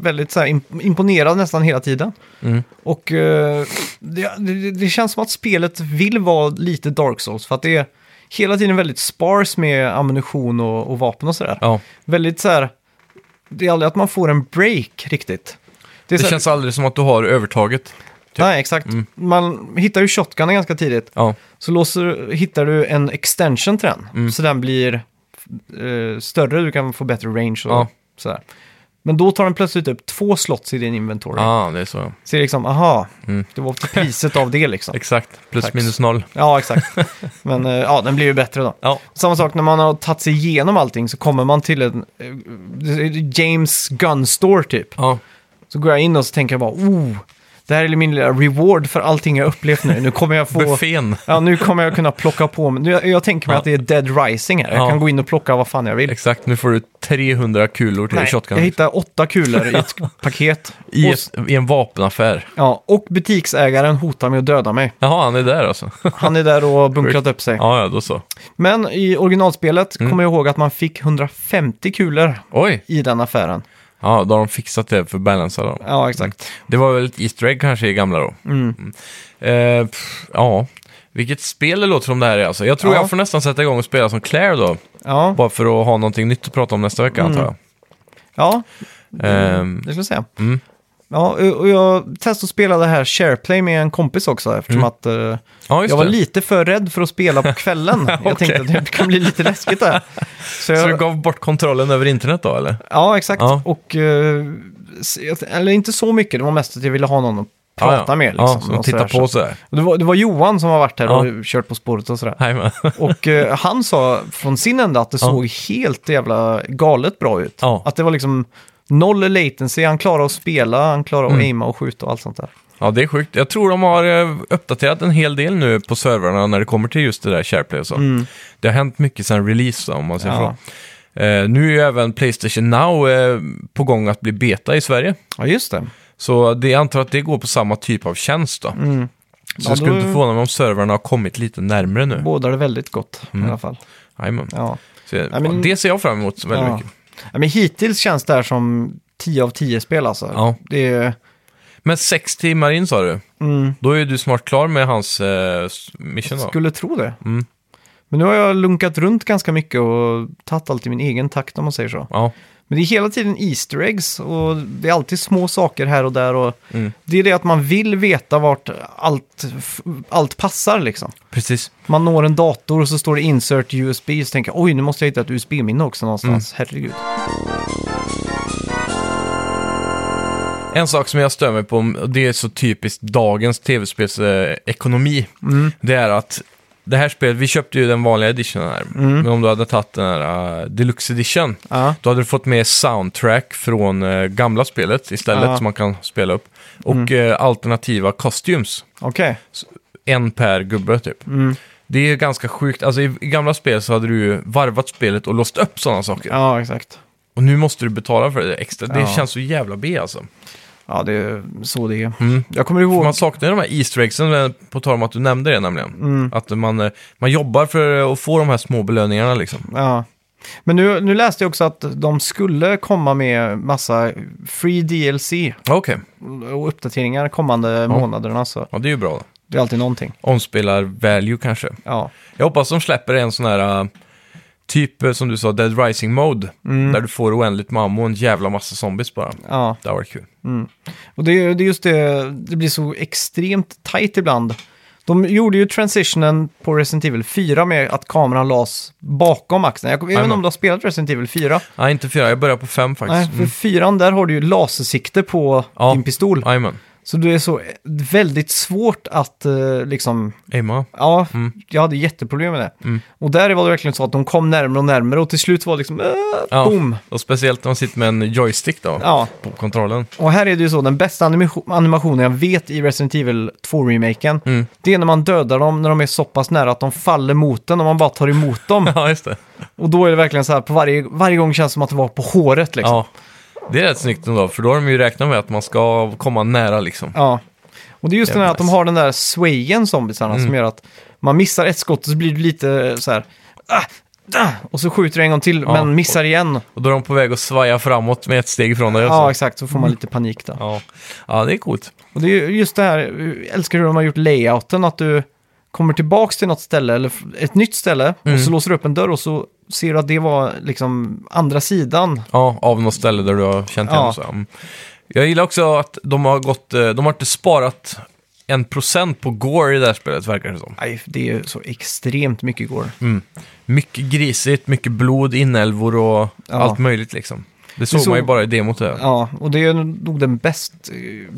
[SPEAKER 1] väldigt så här imp- imponerad nästan hela tiden.
[SPEAKER 2] Mm.
[SPEAKER 1] Och eh, det, det, det känns som att spelet vill vara lite Dark Souls, för att det är hela tiden väldigt spars med ammunition och, och vapen och sådär.
[SPEAKER 2] Ja.
[SPEAKER 1] väldigt så här, det är aldrig att man får en break riktigt. är
[SPEAKER 2] Det
[SPEAKER 1] så här-
[SPEAKER 2] känns aldrig som Mm. att du har övertaget.
[SPEAKER 1] Nej, exakt. Man hittar ju shotgunen ganska tidigt.
[SPEAKER 2] Ja,
[SPEAKER 1] Så låser, hittar du en extension till den.
[SPEAKER 2] Mm.
[SPEAKER 1] Så den blir eh, större, du kan få bättre range och
[SPEAKER 2] Ja.
[SPEAKER 1] sådär. Men då tar den plötsligt upp två slots i din inventory.
[SPEAKER 2] ah, det är så. ja. Mm.
[SPEAKER 1] Så det är liksom, aha, det var till priset av det liksom.
[SPEAKER 2] Exakt, plus
[SPEAKER 1] Tack.
[SPEAKER 2] minus noll.
[SPEAKER 1] Ja, exakt. Men eh, ja, den blir ju bättre då.
[SPEAKER 2] Ja.
[SPEAKER 1] Samma sak när man har tagit sig igenom allting så kommer man till en eh, James Gun Store typ.
[SPEAKER 2] Ja,
[SPEAKER 1] Så går jag in och så tänker jag bara, oh, det här är min lilla reward för allting jag upplevt nu. Nu kommer jag få...
[SPEAKER 2] buffén.
[SPEAKER 1] Ja, nu kommer jag kunna plocka på mig. Nu, jag, jag tänker mig att det är Dead Rising här. Jag
[SPEAKER 2] Ja.
[SPEAKER 1] kan gå in och plocka vad fan jag vill.
[SPEAKER 2] Exakt, nu får du 300 kulor till
[SPEAKER 1] Nej, jag
[SPEAKER 2] shotgun.
[SPEAKER 1] hittar åtta kulor i ett paket.
[SPEAKER 2] I,
[SPEAKER 1] Och,
[SPEAKER 2] ett, I en vapenaffär.
[SPEAKER 1] ja, och butiksägaren hotar med att döda mig.
[SPEAKER 2] Jaha, han är där alltså.
[SPEAKER 1] Han är där och har bunkrat upp sig.
[SPEAKER 2] ja, Mm. ja, då så.
[SPEAKER 1] Men i originalspelet kommer jag ihåg att man fick 150 kulor
[SPEAKER 2] Oj,
[SPEAKER 1] i den affären.
[SPEAKER 2] ja, då har de fixat det för att balancea dem.
[SPEAKER 1] Ja, exakt.
[SPEAKER 2] Det var väl ett Easter egg kanske i gamla då. Mm. Eh, pff, ja, vilket spel det låter som det här är alltså. Jag tror
[SPEAKER 1] Ja.
[SPEAKER 2] jag får nästan sätta igång och spela som Claire då.
[SPEAKER 1] Ja,
[SPEAKER 2] Bara för att ha
[SPEAKER 1] Mm.
[SPEAKER 2] någonting nytt att prata om nästa vecka antar jag.
[SPEAKER 1] ja
[SPEAKER 2] Ehm,
[SPEAKER 1] det skulle jag säga. Ja, och jag testade att spela det här SharePlay med en kompis också eftersom
[SPEAKER 2] Mm.
[SPEAKER 1] att eh,
[SPEAKER 2] Ja, just
[SPEAKER 1] jag var
[SPEAKER 2] det.
[SPEAKER 1] lite för rädd för att spela på kvällen. Jag tänkte att det kan bli lite läskigt där. Så
[SPEAKER 2] Så du
[SPEAKER 1] jag,
[SPEAKER 2] gav bort kontrollen över internet då, eller?
[SPEAKER 1] ja, exakt.
[SPEAKER 2] Ja.
[SPEAKER 1] Och, eh, s- jag- eller inte så mycket, det var mest att jag ville ha någon att prata
[SPEAKER 2] Ja, ja.
[SPEAKER 1] med. Liksom,
[SPEAKER 2] ja, så
[SPEAKER 1] och
[SPEAKER 2] titta
[SPEAKER 1] sådär.
[SPEAKER 2] på sådär.
[SPEAKER 1] Och Det, var, det var Johan som har varit här
[SPEAKER 2] Ja.
[SPEAKER 1] och kört På spåret och sådär.
[SPEAKER 2] Jajamän.
[SPEAKER 1] Och eh, han sa från sin ända att det
[SPEAKER 2] Ja.
[SPEAKER 1] såg helt jävla galet bra ut.
[SPEAKER 2] Ja.
[SPEAKER 1] Att det var liksom noll latency, han klarade att spela, han klarade
[SPEAKER 2] Mm.
[SPEAKER 1] att aima och skjuta och allt sånt där.
[SPEAKER 2] Ja, det är sjukt. Jag tror de har eh, uppdaterat en hel del nu på servrarna när det kommer till just det där SharePlay och så. Det har hänt mycket sedan release då, om man säger
[SPEAKER 1] Mm. Ja.
[SPEAKER 2] så. Eh, nu är ju även Playstation Now eh, på gång att bli beta i Sverige.
[SPEAKER 1] Ja, just det.
[SPEAKER 2] Så det jag antar att det går på samma typ av tjänst då. Så
[SPEAKER 1] Mm. Ja,
[SPEAKER 2] jag skulle
[SPEAKER 1] då-
[SPEAKER 2] inte förvåna mig om servrarna har kommit lite närmre nu.
[SPEAKER 1] Bådar det väldigt gott
[SPEAKER 2] Mm.
[SPEAKER 1] i alla fall.
[SPEAKER 2] Jajamän.
[SPEAKER 1] Ja.
[SPEAKER 2] Så, jag-
[SPEAKER 1] Nej, men-
[SPEAKER 2] ja, Det ser jag fram emot väldigt
[SPEAKER 1] Ja.
[SPEAKER 2] mycket.
[SPEAKER 1] Ja, men hittills känns det här som 10 av 10 spel alltså.
[SPEAKER 2] Ja.
[SPEAKER 1] Det är,
[SPEAKER 2] Men sex timmar in sa du.
[SPEAKER 1] mm,
[SPEAKER 2] Då är du snart klar med hans eh, s- mission då.
[SPEAKER 1] skulle tro det.
[SPEAKER 2] Mm.
[SPEAKER 1] Men nu har jag lunkat runt ganska mycket och tagit allt i min egen takt om man säger så.
[SPEAKER 2] Ja,
[SPEAKER 1] Men det är hela tiden Easter eggs och det är alltid små saker här och där. Och
[SPEAKER 2] Mm.
[SPEAKER 1] Det är det att man vill veta vart allt, f- allt passar liksom.
[SPEAKER 2] precis.
[SPEAKER 1] Man når en dator och så står det insert USB så tänker jag oj nu måste jag hitta ett USB-minne också
[SPEAKER 2] Mm.
[SPEAKER 1] någonstans. Herregud.
[SPEAKER 2] En sak som jag stör mig på, och det är så typiskt dagens tv-spelsekonomi,
[SPEAKER 1] Mm.
[SPEAKER 2] det är att det här spelet, vi köpte ju den vanliga editionen här, men om du hade tagit den här eh, deluxe edition,
[SPEAKER 1] Mm. Ja.
[SPEAKER 2] då hade du fått med soundtrack från eh, gamla spelet istället
[SPEAKER 1] Ja. Mm.
[SPEAKER 2] som man kan spela upp. Och eh, alternativa costumes,
[SPEAKER 1] Okej.
[SPEAKER 2] en per gubbe typ.
[SPEAKER 1] Mm.
[SPEAKER 2] Det är ganska sjukt, alltså i, i gamla spel så hade du ju varvat spelet och låst upp sådana saker.
[SPEAKER 1] Ja, exakt.
[SPEAKER 2] Och nu måste du betala för det extra, det
[SPEAKER 1] Ja.
[SPEAKER 2] känns så jävla B alltså.
[SPEAKER 1] Ja, det är så det är. Jag kommer ihåg...
[SPEAKER 2] För Mm. man saknar ju de här Easter eggsen, eh, på tal om att du nämnde det nämligen.
[SPEAKER 1] Mm.
[SPEAKER 2] Att man, eh, man jobbar för att få de här små belöningarna liksom.
[SPEAKER 1] Ja. Men nu, nu läste jag också att de skulle komma med massa free DLC
[SPEAKER 2] Ja, Okej,
[SPEAKER 1] och uppdateringar kommande månaderna. Så
[SPEAKER 2] ja, det är ju bra. då.
[SPEAKER 1] det är alltid någonting.
[SPEAKER 2] Omspelar value kanske.
[SPEAKER 1] Ja,
[SPEAKER 2] Jag hoppas de släpper en sån här eh, typ eh, som du sa, Dead Rising Mode.
[SPEAKER 1] Mm.
[SPEAKER 2] Där du får oändligt mammo och en jävla massa zombies bara.
[SPEAKER 1] ja.
[SPEAKER 2] Det hade varit kul.
[SPEAKER 1] och det, är- det är just det, det blir så extremt tajt ibland. De gjorde ju transitionen på Resident Evil 4 med att kameran lades bakom axeln. Jag, jag vet inte
[SPEAKER 2] Jajamän.
[SPEAKER 1] om du har spelat Resident Evil 4?
[SPEAKER 2] Nej, inte fyra, jag börjar på fem
[SPEAKER 1] Nej,
[SPEAKER 2] faktiskt.
[SPEAKER 1] för 4 där har du ju lasersikte på
[SPEAKER 2] Mm. Ja.
[SPEAKER 1] din pistol.
[SPEAKER 2] Mm. Jajamän,
[SPEAKER 1] Så det är så väldigt svårt att eh, liksom
[SPEAKER 2] Emma.
[SPEAKER 1] Ja,
[SPEAKER 2] Mm.
[SPEAKER 1] jag hade jätteproblem med det. Och där var det verkligen så att de kom närmare och närmare och till slut var det liksom, äh,
[SPEAKER 2] Ja.
[SPEAKER 1] boom!
[SPEAKER 2] Och speciellt när man sitter med en joystick då,
[SPEAKER 1] Ja,
[SPEAKER 2] på kontrollen.
[SPEAKER 1] och här är det ju så, den bästa animation, animationen jag vet i Resident Evil 2-remaken,
[SPEAKER 2] Mm.
[SPEAKER 1] det är när man dödar dem när de är så pass nära att de faller mot den och man bara tar emot dem.
[SPEAKER 2] Ja, just det.
[SPEAKER 1] och då är det verkligen så här, på varje, varje gång känns det som att det var på håret liksom.
[SPEAKER 2] Ja, det är rätt snyggt ändå, för då har de ju räknat med att man ska komma nära liksom.
[SPEAKER 1] Ja. Och det är just
[SPEAKER 2] Jävla
[SPEAKER 1] den här att de
[SPEAKER 2] nice.
[SPEAKER 1] har den där swayen zombisarna
[SPEAKER 2] Mm.
[SPEAKER 1] som gör att man missar ett skott och så blir det lite så här, ah, ah, och så skjuter du en gång till
[SPEAKER 2] Ja,
[SPEAKER 1] men missar igen.
[SPEAKER 2] Och då är de på väg att svaja framåt med ett steg från dig.
[SPEAKER 1] Ja,
[SPEAKER 2] alltså.
[SPEAKER 1] exakt. Så får man lite panik då.
[SPEAKER 2] ja. ja, det är coolt.
[SPEAKER 1] Och det är ju just det här, jag älskar hur de har gjort layouten, att du kommer tillbaks till något ställe, eller f- ett nytt ställe, och så låser du upp en dörr och så ser du att det var liksom andra sidan.
[SPEAKER 2] Ja, av något ställe där du har känt igen
[SPEAKER 1] Ja.
[SPEAKER 2] och så. Mm. Jag gillar också att de har gått, eh, de har inte sparat en procent på Gore i det här spelet, verkar det som. Mm.
[SPEAKER 1] Nej, det är ju så extremt mycket går.
[SPEAKER 2] Mycket grisigt, mycket blod, inälvor och
[SPEAKER 1] Ja.
[SPEAKER 2] allt möjligt liksom. Det såg
[SPEAKER 1] såg-
[SPEAKER 2] man ju bara i demot där.
[SPEAKER 1] Ja, och det är nog den bäst eh,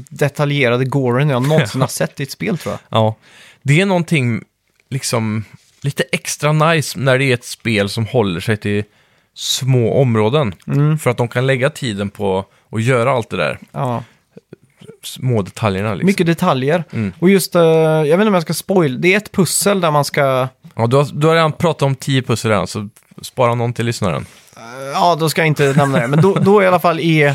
[SPEAKER 1] detaljerade goren jag någonsin har sett i ett spel tror jag.
[SPEAKER 2] Ja, det är någonting liksom lite extra nice när det är ett spel som håller sig till små områden.
[SPEAKER 1] Mm.
[SPEAKER 2] För att de kan lägga tiden på att göra allt det där,
[SPEAKER 1] Ja.
[SPEAKER 2] små detaljerna liksom.
[SPEAKER 1] Mycket detaljer. Och just, eh, jag vet inte om jag ska spoil, det är ett pussel där man ska,
[SPEAKER 2] Ja, du, har, du har redan pratat om tio pussel redan, så spara någon till lyssnaren.
[SPEAKER 1] Ja, då ska jag inte nämna det. Men då, då i alla fall är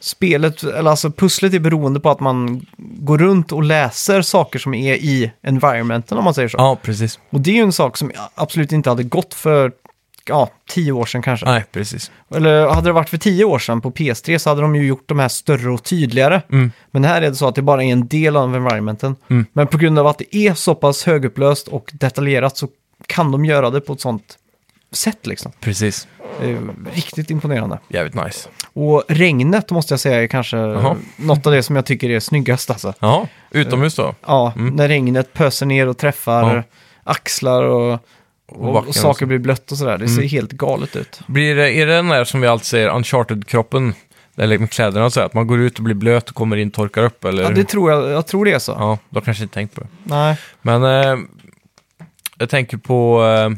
[SPEAKER 1] spelet, eller alltså pusslet är beroende på att man går runt och läser saker som är i environmenten om man säger så.
[SPEAKER 2] Ja, precis.
[SPEAKER 1] Och det är ju en sak som absolut inte hade gått för ja, tio år sedan kanske.
[SPEAKER 2] Nej, precis.
[SPEAKER 1] Eller hade det varit för tio år sedan på PS3 så hade de ju gjort de här större och tydligare. Men här är det så att det bara är en del av environmenten. Men på grund av att det är så pass högupplöst och detaljerat så kan de göra det på ett sånt sätt liksom.
[SPEAKER 2] Precis.
[SPEAKER 1] Det är riktigt imponerande.
[SPEAKER 2] Jävligt nice.
[SPEAKER 1] Och regnet måste jag säga är kanske något av det som jag tycker är snyggast alltså.
[SPEAKER 2] Ja, utomhus då.
[SPEAKER 1] Ja, när regnet pöser ner och träffar
[SPEAKER 2] Mm. Ja.
[SPEAKER 1] axlar och, och,
[SPEAKER 2] backen
[SPEAKER 1] och
[SPEAKER 2] och
[SPEAKER 1] saker
[SPEAKER 2] så. Mm.
[SPEAKER 1] blir blött och sådär. Det ser helt galet ut.
[SPEAKER 2] Blir det, är det den där som vi alltid säger, uncharted-kroppen? Eller med kläderna och så, här, att man går ut och blir blöt och kommer in, torkar upp eller?
[SPEAKER 1] Ja, det tror jag, jag tror det är så.
[SPEAKER 2] ja de kanske inte tänkt på det.
[SPEAKER 1] Nej.
[SPEAKER 2] Men eh, jag tänker på eh,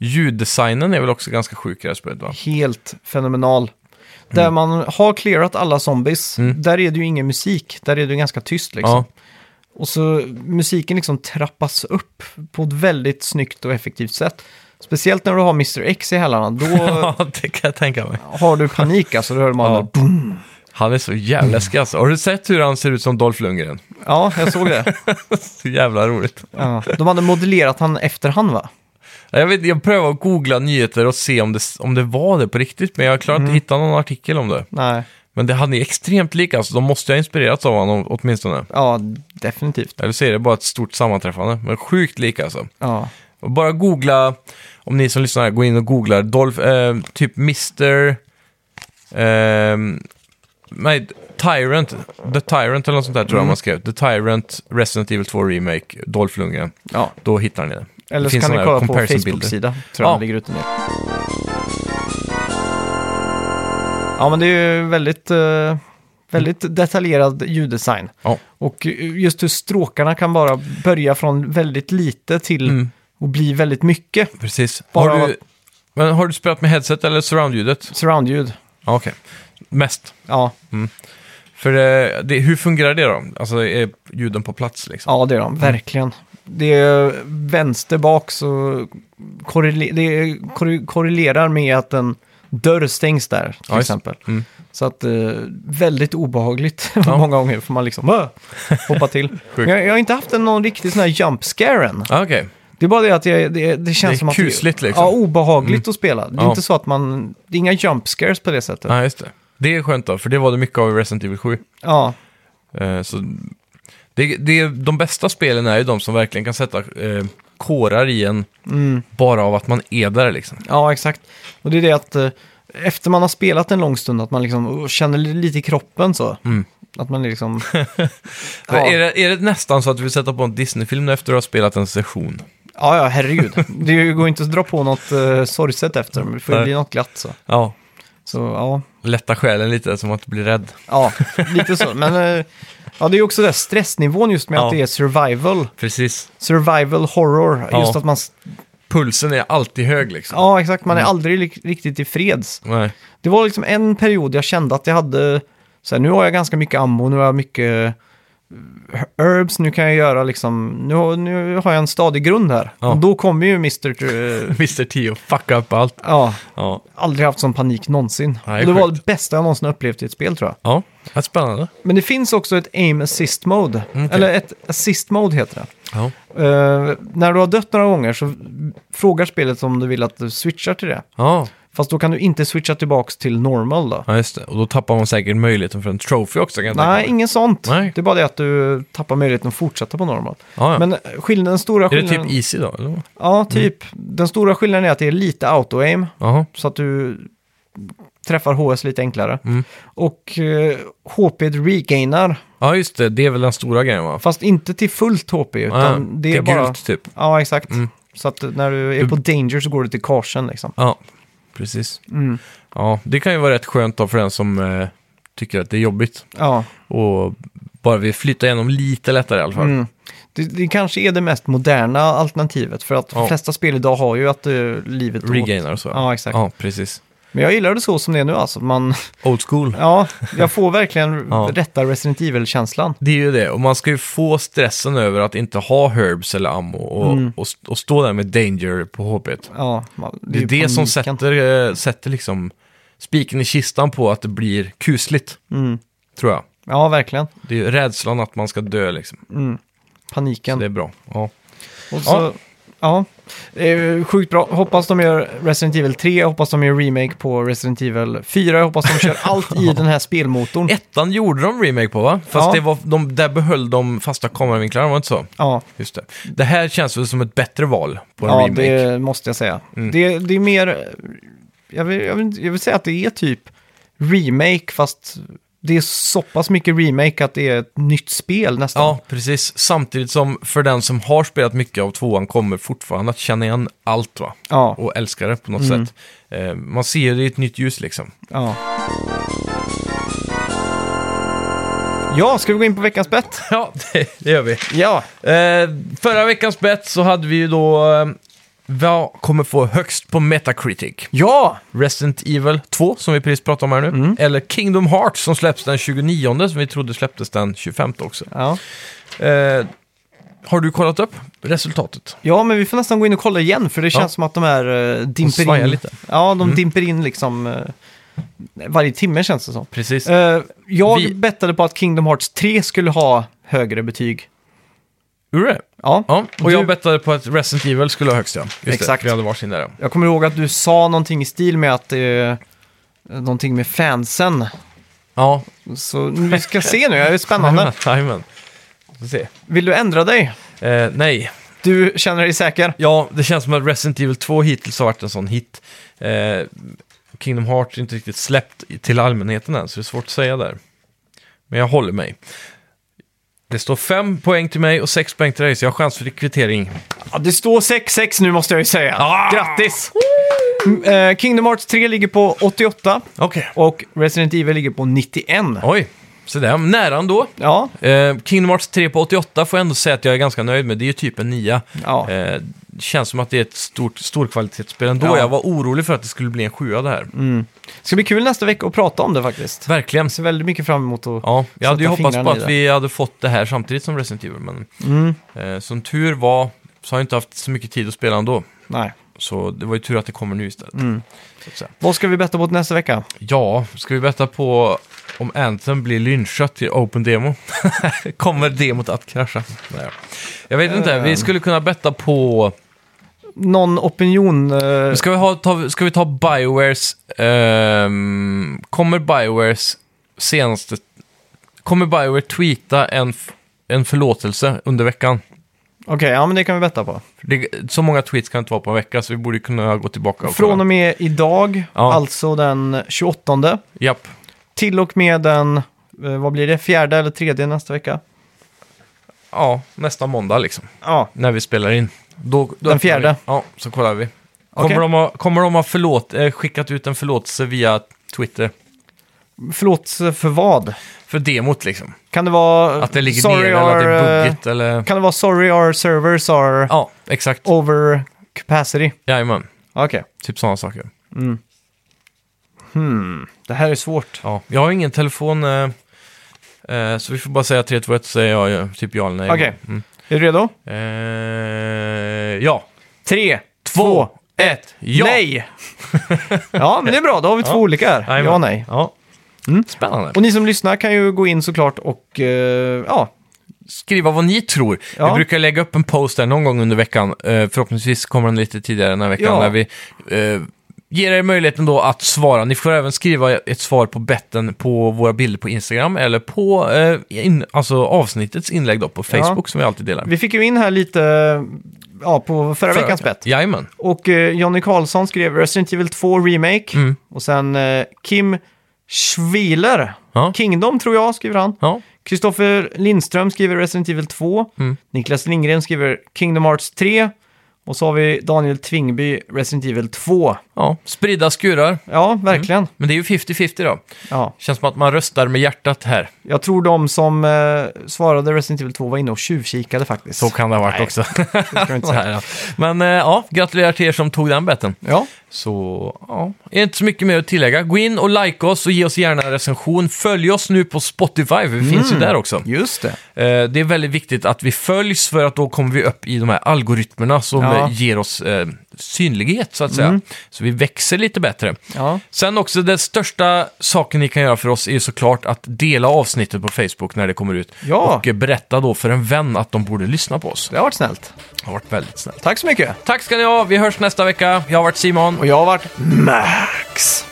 [SPEAKER 2] ljuddesignen är väl också ganska sjuk i det här spelet va?
[SPEAKER 1] Helt fenomenal.
[SPEAKER 2] Mm.
[SPEAKER 1] Där man har clearat alla zombies, där är det ju ingen musik. Där är det ju ganska tyst liksom.
[SPEAKER 2] Ja,
[SPEAKER 1] Och så musiken liksom trappas upp på ett väldigt snyggt och effektivt sätt. Speciellt när du har Mr. X i hälarna, då
[SPEAKER 2] ja, det kan jag tänka mig.
[SPEAKER 1] har du panik alltså. Då hör man
[SPEAKER 2] Ja.
[SPEAKER 1] ja. boom.
[SPEAKER 2] Han är så jävla läskig alltså. Har du sett hur han ser ut som Dolph Lundgren?
[SPEAKER 1] Ja, jag såg det.
[SPEAKER 2] Så jävla roligt.
[SPEAKER 1] Ja. De hade modellerat han efterhand va?
[SPEAKER 2] Jag, vet, jag prövade att googla nyheter och se om det, om det var det på riktigt, men jag
[SPEAKER 1] Mm.
[SPEAKER 2] klarade inte hitta någon artikel om det.
[SPEAKER 1] Nej,
[SPEAKER 2] Men det, han är extremt lik alltså, de måste ju ha inspirerats av honom åtminstone.
[SPEAKER 1] ja definitivt.
[SPEAKER 2] Eller så är det bara ett stort sammanträffande, men sjukt lik alltså.
[SPEAKER 1] Ja,
[SPEAKER 2] Och bara googla, om ni som lyssnar här, gå in och googlar Dolph, eh, typ Mr... ehm, nej, Tyrant, The Tyrant eller något sånt där
[SPEAKER 1] Mm.
[SPEAKER 2] tror jag man skrev. The Tyrant, Resident Evil 2 Remake, Dolph Lundgren.
[SPEAKER 1] ja.
[SPEAKER 2] Då hittar ni det.
[SPEAKER 1] Eller
[SPEAKER 2] Det
[SPEAKER 1] så
[SPEAKER 2] finns
[SPEAKER 1] kan ni
[SPEAKER 2] såna här
[SPEAKER 1] kolla på
[SPEAKER 2] comparison-bilder.
[SPEAKER 1] Facebook-sida. Tror jag
[SPEAKER 2] Ja.
[SPEAKER 1] den ligger ute nu. Ja, men det är ju väldigt, eh, väldigt detaljerad ljuddesign.
[SPEAKER 2] Ja.
[SPEAKER 1] Och just hur stråkarna kan bara börja från väldigt lite till
[SPEAKER 2] Mm.
[SPEAKER 1] och bli väldigt mycket
[SPEAKER 2] Precis.
[SPEAKER 1] Bara
[SPEAKER 2] har,
[SPEAKER 1] av
[SPEAKER 2] du, men har du spelat med headset eller surroundljudet?
[SPEAKER 1] surroundljud.
[SPEAKER 2] Ja, okej. Mest.
[SPEAKER 1] Ja,
[SPEAKER 2] För eh, det, hur fungerar det då? Alltså är ljuden på plats liksom?
[SPEAKER 1] ja, det är de, verkligen. Det är vänster bak så korrele- det är- korre- korrelerar med att en dörr stängs där, till
[SPEAKER 2] Ja, just-
[SPEAKER 1] exempel.
[SPEAKER 2] Mm.
[SPEAKER 1] Så att eh, väldigt obehagligt
[SPEAKER 2] Ja.
[SPEAKER 1] många gånger får man liksom "Åh!" hoppa till. Men jag, jag har inte haft en- någon riktig sån här jump scare än.
[SPEAKER 2] Ja, Okej,
[SPEAKER 1] Det är bara det att jag, det, det känns
[SPEAKER 2] Det är
[SPEAKER 1] som att...
[SPEAKER 2] kusligt, liksom.
[SPEAKER 1] Ja, obehagligt att spela. Det är
[SPEAKER 2] Ja.
[SPEAKER 1] inte så att man... Det är inga jump scares på det sättet.
[SPEAKER 2] ja, just det. Det är skönt då, för det var det mycket av i Resident Evil 7.
[SPEAKER 1] Ja,
[SPEAKER 2] Eh, så det, det, de bästa spelen är ju de som verkligen kan sätta eh, kårar i en
[SPEAKER 1] mm.
[SPEAKER 2] bara av att man är där liksom.
[SPEAKER 1] ja, exakt. Och det är det att eh, efter man har spelat en lång stund att man liksom oh, känner lite i kroppen så. Att man är liksom... ja.
[SPEAKER 2] Mm. Är, det, är det nästan så att du vill sätta på en Disney-film nu efter att du har spelat en session?
[SPEAKER 1] ja, ja, herregud. Det går inte att dra på något uh, sorgset efter, men det får ju
[SPEAKER 2] Nej.
[SPEAKER 1] bli något glatt så.
[SPEAKER 2] Ja.
[SPEAKER 1] Så ja,
[SPEAKER 2] Lätta själen lite, som att bli rädd.
[SPEAKER 1] ja lite så. Men eh, ja, det är ju också den stressnivån just med
[SPEAKER 2] Ja.
[SPEAKER 1] att det är survival.
[SPEAKER 2] Precis.
[SPEAKER 1] Survival horror. Just
[SPEAKER 2] Ja.
[SPEAKER 1] att man...
[SPEAKER 2] Pulsen är alltid hög liksom.
[SPEAKER 1] Ja, exakt. Man är aldrig lik- riktigt i freds.
[SPEAKER 2] Nej.
[SPEAKER 1] Det var liksom en period jag kände att jag hade, så här, nu har jag ganska mycket ammo, nu har jag mycket eh, herbs, nu kan jag göra liksom, nu, har- nu har jag en stadig grund här.
[SPEAKER 2] Ja.
[SPEAKER 1] Och då kommer ju Mr. eh,
[SPEAKER 2] Mr. Tio, fuck up allt.
[SPEAKER 1] ja,
[SPEAKER 2] Ja.
[SPEAKER 1] aldrig haft sån panik någonsin.
[SPEAKER 2] Nej,
[SPEAKER 1] och det var
[SPEAKER 2] sjukt.
[SPEAKER 1] det bästa jag någonsin upplevt i ett spel tror jag.
[SPEAKER 2] Ja, det är spännande.
[SPEAKER 1] Men det finns också ett aim assist mode,
[SPEAKER 2] Mm, Okej.
[SPEAKER 1] eller ett assist mode heter det.
[SPEAKER 2] Ja.
[SPEAKER 1] Eh, när du har dött några gånger så frågar spelet om du vill att du switchar till det.
[SPEAKER 2] Ja.
[SPEAKER 1] Fast då kan du inte switcha tillbaks till normal då.
[SPEAKER 2] ja, just det. Och då tappar man säkert möjligheten för en trophy också. Kan jag tänka
[SPEAKER 1] Nej,
[SPEAKER 2] mig.
[SPEAKER 1] inget sånt.
[SPEAKER 2] Nej.
[SPEAKER 1] Det är bara det att du tappar möjligheten att fortsätta på normalt.
[SPEAKER 2] Ja, ja.
[SPEAKER 1] Men eh, skillnaden, den stora
[SPEAKER 2] Är det
[SPEAKER 1] skillnaden...
[SPEAKER 2] typ Mm. easy då? Eller?
[SPEAKER 1] Ja, typ. Den stora skillnaden är att det är lite auto-aim,
[SPEAKER 2] Jaha.
[SPEAKER 1] så att du träffar HS lite enklare.
[SPEAKER 2] Mm.
[SPEAKER 1] Och eh, HP regainar,
[SPEAKER 2] Ja, just det. Det är väl den stora grejen va?
[SPEAKER 1] fast inte till fullt HP, utan
[SPEAKER 2] Ja,
[SPEAKER 1] det är
[SPEAKER 2] till
[SPEAKER 1] bara...
[SPEAKER 2] gult typ.
[SPEAKER 1] Ja, exakt. Så att eh, när du är på danger så går du till karsen liksom. Mm.
[SPEAKER 2] Ja, precis. Ja, det kan ju vara rätt skönt då för den som eh, tycker att det är jobbigt.
[SPEAKER 1] Ja.
[SPEAKER 2] Och bara vill flytta igenom lite lättare i alla fall.
[SPEAKER 1] Mm. Det, det kanske är det mest moderna alternativet, för att
[SPEAKER 2] Ja.
[SPEAKER 1] de flesta spel idag har ju att eh, livet åt-
[SPEAKER 2] Regainar och så.
[SPEAKER 1] Ja, exakt.
[SPEAKER 2] Ja, precis.
[SPEAKER 1] Men jag gillar det så som det är nu alltså. Man,
[SPEAKER 2] Old school.
[SPEAKER 1] ja, jag får verkligen
[SPEAKER 2] Ja.
[SPEAKER 1] rätta Resident Evil-känslan.
[SPEAKER 2] Det är ju det, och man ska ju få stressen över att inte ha herbs eller ammo och,
[SPEAKER 1] Mm.
[SPEAKER 2] och, och stå där med danger på HP.
[SPEAKER 1] Ja, man-
[SPEAKER 2] Det är
[SPEAKER 1] ju
[SPEAKER 2] det som
[SPEAKER 1] paniken.
[SPEAKER 2] sätter, eh, sätter liksom spiken i kistan på att det blir kusligt,
[SPEAKER 1] Mm.
[SPEAKER 2] tror jag.
[SPEAKER 1] Ja, verkligen. Mm.
[SPEAKER 2] Det är ju rädslan att man ska dö liksom.
[SPEAKER 1] Paniken.
[SPEAKER 2] Det är bra. Ja.
[SPEAKER 1] Och så,
[SPEAKER 2] Ja.
[SPEAKER 1] Ja, det är sjukt bra. Hoppas de gör Resident Evil 3, jag hoppas de gör remake på Resident Evil 4, jag hoppas de kör allt i den här spelmotorn.
[SPEAKER 2] Ettan gjorde de remake på va? Fast
[SPEAKER 1] Ja.
[SPEAKER 2] det var, de, där behöll de fasta kameravinklarna, var det inte så?
[SPEAKER 1] Ja,
[SPEAKER 2] Just det. Det här känns väl som ett bättre val på en
[SPEAKER 1] ja
[SPEAKER 2] remake. Mm.
[SPEAKER 1] det måste jag säga. Det, det är mer, jag vill, jag, vill, jag vill säga att det är typ remake, fast det är så pass mycket remake att det är ett nytt spel nästan.
[SPEAKER 2] Ja, precis. Samtidigt som för den som har spelat mycket av tvåan kommer fortfarande att känna igen allt va?
[SPEAKER 1] Ja.
[SPEAKER 2] Och älska det på något sätt. Eh, man ser det i ett nytt ljus liksom.
[SPEAKER 1] Ja. Ja, ska vi gå in på veckans bett?
[SPEAKER 2] Ja, det, det gör vi.
[SPEAKER 1] Ja.
[SPEAKER 2] Eh, förra veckans bett så hade vi ju då... Eh, vad kommer få högst på Metacritic?
[SPEAKER 1] Ja!
[SPEAKER 2] Resident Evil 2 som vi precis pratade om här nu. Eller Kingdom Hearts som släpps den 29 som vi trodde släpptes den 25 också.
[SPEAKER 1] ja!
[SPEAKER 2] Eh, har du kollat upp resultatet?
[SPEAKER 1] Ja, men vi får nästan gå in och kolla igen för det känns som att de här eh, dimper
[SPEAKER 2] svajar
[SPEAKER 1] in.
[SPEAKER 2] lite. Mm.
[SPEAKER 1] Ja, de dimper in liksom eh, varje timme känns det som.
[SPEAKER 2] Precis.
[SPEAKER 1] Eh, jag
[SPEAKER 2] Vi-
[SPEAKER 1] bettade på att Kingdom Hearts 3 skulle ha högre betyg.
[SPEAKER 2] Ure.
[SPEAKER 1] Ja,
[SPEAKER 2] Ja, och
[SPEAKER 1] Du-
[SPEAKER 2] jag bettade på att Resident Evil skulle ha högst ja. Just
[SPEAKER 1] Exakt.
[SPEAKER 2] Det, vi hade varsin där. ja.
[SPEAKER 1] jag kommer ihåg att du sa någonting i stil med att det är någonting med fansen.
[SPEAKER 2] Ja,
[SPEAKER 1] Så vi ska se nu, det är spännande.
[SPEAKER 2] jajamän, jajamän. Får se.
[SPEAKER 1] Vill du ändra dig?
[SPEAKER 2] Eh, nej,
[SPEAKER 1] Du känner dig säker?
[SPEAKER 2] ja, det känns som att Resident Evil 2 hittills har varit en sån hit. Eh, Kingdom Hearts är inte riktigt släppt i- till allmänheten än, så det är svårt att säga där. Men jag håller mig. Det står fem poäng till mig och sex poäng till dig, så jag har chans för kvittering.
[SPEAKER 1] Ja, det står 6-6 nu måste jag ju säga.
[SPEAKER 2] Ah!
[SPEAKER 1] Grattis! Mm, eh, Kingdom Hearts 3 ligger på 88
[SPEAKER 2] Okej.
[SPEAKER 1] och Resident Evil ligger på 91.
[SPEAKER 2] Oj, så där, nära ändå.
[SPEAKER 1] Ja,
[SPEAKER 2] Eh, Kingdom Hearts 3 på 88 får jag ändå säga att jag är ganska nöjd med. Det är ju typ en nia.
[SPEAKER 1] Ja.
[SPEAKER 2] Eh, känns som att det är ett stort, storkvalitetsspel ändå.
[SPEAKER 1] Ja. Mm.
[SPEAKER 2] Jag var orolig för att det skulle bli en sjua det här.
[SPEAKER 1] det ska bli kul nästa vecka att prata om det faktiskt. Jag
[SPEAKER 2] Verkligen.
[SPEAKER 1] ser väldigt mycket fram emot att...
[SPEAKER 2] Ja, jag hade ju
[SPEAKER 1] Sätta
[SPEAKER 2] hoppats på
[SPEAKER 1] fingrarna i Mm.
[SPEAKER 2] att vi hade fått det här samtidigt som Resident Evil, men eh, som tur var så har jag inte haft så mycket tid att spela ändå.
[SPEAKER 1] Nej.
[SPEAKER 2] Så det var ju tur att det kommer nu istället.
[SPEAKER 1] Mm.
[SPEAKER 2] Så att säga.
[SPEAKER 1] Vad ska vi betta på till nästa vecka?
[SPEAKER 2] Ja, ska vi betta på om Anthem blir lynchad i Open Demo? kommer demot att krascha? Nej. Jag vet inte,
[SPEAKER 1] Eh.
[SPEAKER 2] vi skulle kunna betta på...
[SPEAKER 1] Någon opinion? Eh,
[SPEAKER 2] Ska vi, ha, ta, ska vi ta Biowares... ehm, kommer Biowares senaste... Kommer Bioware tweeta en, f- en förlåtelse under veckan?
[SPEAKER 1] Okej, ja men det kan vi betta på.
[SPEAKER 2] För Det, så många tweets kan inte vara på en vecka, så vi borde kunna gå tillbaka och
[SPEAKER 1] Från
[SPEAKER 2] kolla.
[SPEAKER 1] och med idag,
[SPEAKER 2] Ja.
[SPEAKER 1] alltså den 28,
[SPEAKER 2] Japp.
[SPEAKER 1] till och med den, eh, vad blir det, fjärde eller tredje nästa vecka?
[SPEAKER 2] Ja, nästa måndag liksom.
[SPEAKER 1] Ja,
[SPEAKER 2] När vi spelar in. Då, då öppnar
[SPEAKER 1] Den fjärde.
[SPEAKER 2] Vi. Ja, så kollar vi. Kommer
[SPEAKER 1] Okej.
[SPEAKER 2] de ha, kommer de ha förlåt, eh, skickat ut en förlåtelse via Twitter?
[SPEAKER 1] förlåt eh, för vad?
[SPEAKER 2] För demot liksom.
[SPEAKER 1] Kan det vara...
[SPEAKER 2] Att det ligger
[SPEAKER 1] sorry
[SPEAKER 2] nere eller att det
[SPEAKER 1] our,
[SPEAKER 2] är
[SPEAKER 1] eh,
[SPEAKER 2] buggigt eller...
[SPEAKER 1] Kan det vara sorry our servers are
[SPEAKER 2] Ja, exakt.
[SPEAKER 1] over capacity?
[SPEAKER 2] Jajamän.
[SPEAKER 1] Okej.
[SPEAKER 2] Typ sådana saker.
[SPEAKER 1] Hmm, Det här är svårt.
[SPEAKER 2] Ja, jag har ingen telefon, eh, eh, så vi får bara säga 3, 2, 1 så säger jag eh, typ ja eller nej.
[SPEAKER 1] Okej. Är du redo?
[SPEAKER 2] Eh, ja.
[SPEAKER 1] Tre,
[SPEAKER 2] Två, ett, ja!
[SPEAKER 1] Nej! ja, men det är bra. Då har vi två olika här.
[SPEAKER 2] Jajamän.
[SPEAKER 1] Ja, nej.
[SPEAKER 2] Ja. Spännande.
[SPEAKER 1] Mm. Och ni som lyssnar kan ju gå in såklart och eh, ja,
[SPEAKER 2] skriva vad ni tror.
[SPEAKER 1] Ja.
[SPEAKER 2] Vi brukar lägga upp en post där någon gång under veckan. Eh, förhoppningsvis kommer den lite tidigare den här veckan.
[SPEAKER 1] Ja.
[SPEAKER 2] Där vi eh, ger er möjligheten då att svara. Ni får även skriva ett svar på betten på våra bilder på Instagram eller på eh, in, alltså avsnittets inlägg då på Facebook som vi alltid delar.
[SPEAKER 1] vi fick ju in här lite ja, på förra veckans bett.
[SPEAKER 2] Jajamän.
[SPEAKER 1] Och eh, Jonny Karlsson skrev Resident Evil 2 Remake.
[SPEAKER 2] Mm.
[SPEAKER 1] Och sen eh, Kim Schwiler.
[SPEAKER 2] Ja.
[SPEAKER 1] Kingdom tror jag, skriver han.
[SPEAKER 2] Ja.
[SPEAKER 1] Kristoffer Lindström skriver Resident Evil 2.
[SPEAKER 2] Mm.
[SPEAKER 1] Niklas Lindgren skriver Kingdom Hearts 3. Och så har vi Daniel Tvingby, Resident Evil 2.
[SPEAKER 2] ja, spridda skurar.
[SPEAKER 1] Ja, verkligen.
[SPEAKER 2] Men det är ju 50-50 då.
[SPEAKER 1] Ja.
[SPEAKER 2] Känns som att man röstar med hjärtat här.
[SPEAKER 1] Jag tror de som eh, svarade Resident Evil 2 var inne och tjuvkikade faktiskt.
[SPEAKER 2] Så kan det ha varit
[SPEAKER 1] Nej.
[SPEAKER 2] också.
[SPEAKER 1] Det ska jag inte säga.
[SPEAKER 2] Nej, ja. Men eh, ja, gratulerar till er som tog den betten.
[SPEAKER 1] Ja,
[SPEAKER 2] Så, ja, är inte så mycket mer att tillägga. Gå in och like oss och ge oss gärna en recension. Följ oss nu på Spotify, vi finns
[SPEAKER 1] Mm.
[SPEAKER 2] ju där också.
[SPEAKER 1] just det.
[SPEAKER 2] Eh, det är väldigt viktigt att vi följs för att då kommer vi upp i de här algoritmerna som
[SPEAKER 1] Ja. Mm.
[SPEAKER 2] eh, ger oss eh, synlighet så att säga. Så vi växer lite bättre.
[SPEAKER 1] Ja.
[SPEAKER 2] Sen också, den största saken ni kan göra för oss är ju såklart att dela avsnittet på Facebook när det kommer ut.
[SPEAKER 1] Ja.
[SPEAKER 2] Och eh, berätta då för en vän att de borde lyssna på oss.
[SPEAKER 1] Det har varit snällt.
[SPEAKER 2] Det har varit väldigt snällt.
[SPEAKER 1] Tack så mycket.
[SPEAKER 2] Tack ska ni ha, vi hörs nästa vecka. Jag har varit Simon.
[SPEAKER 1] Och jag har varit Max.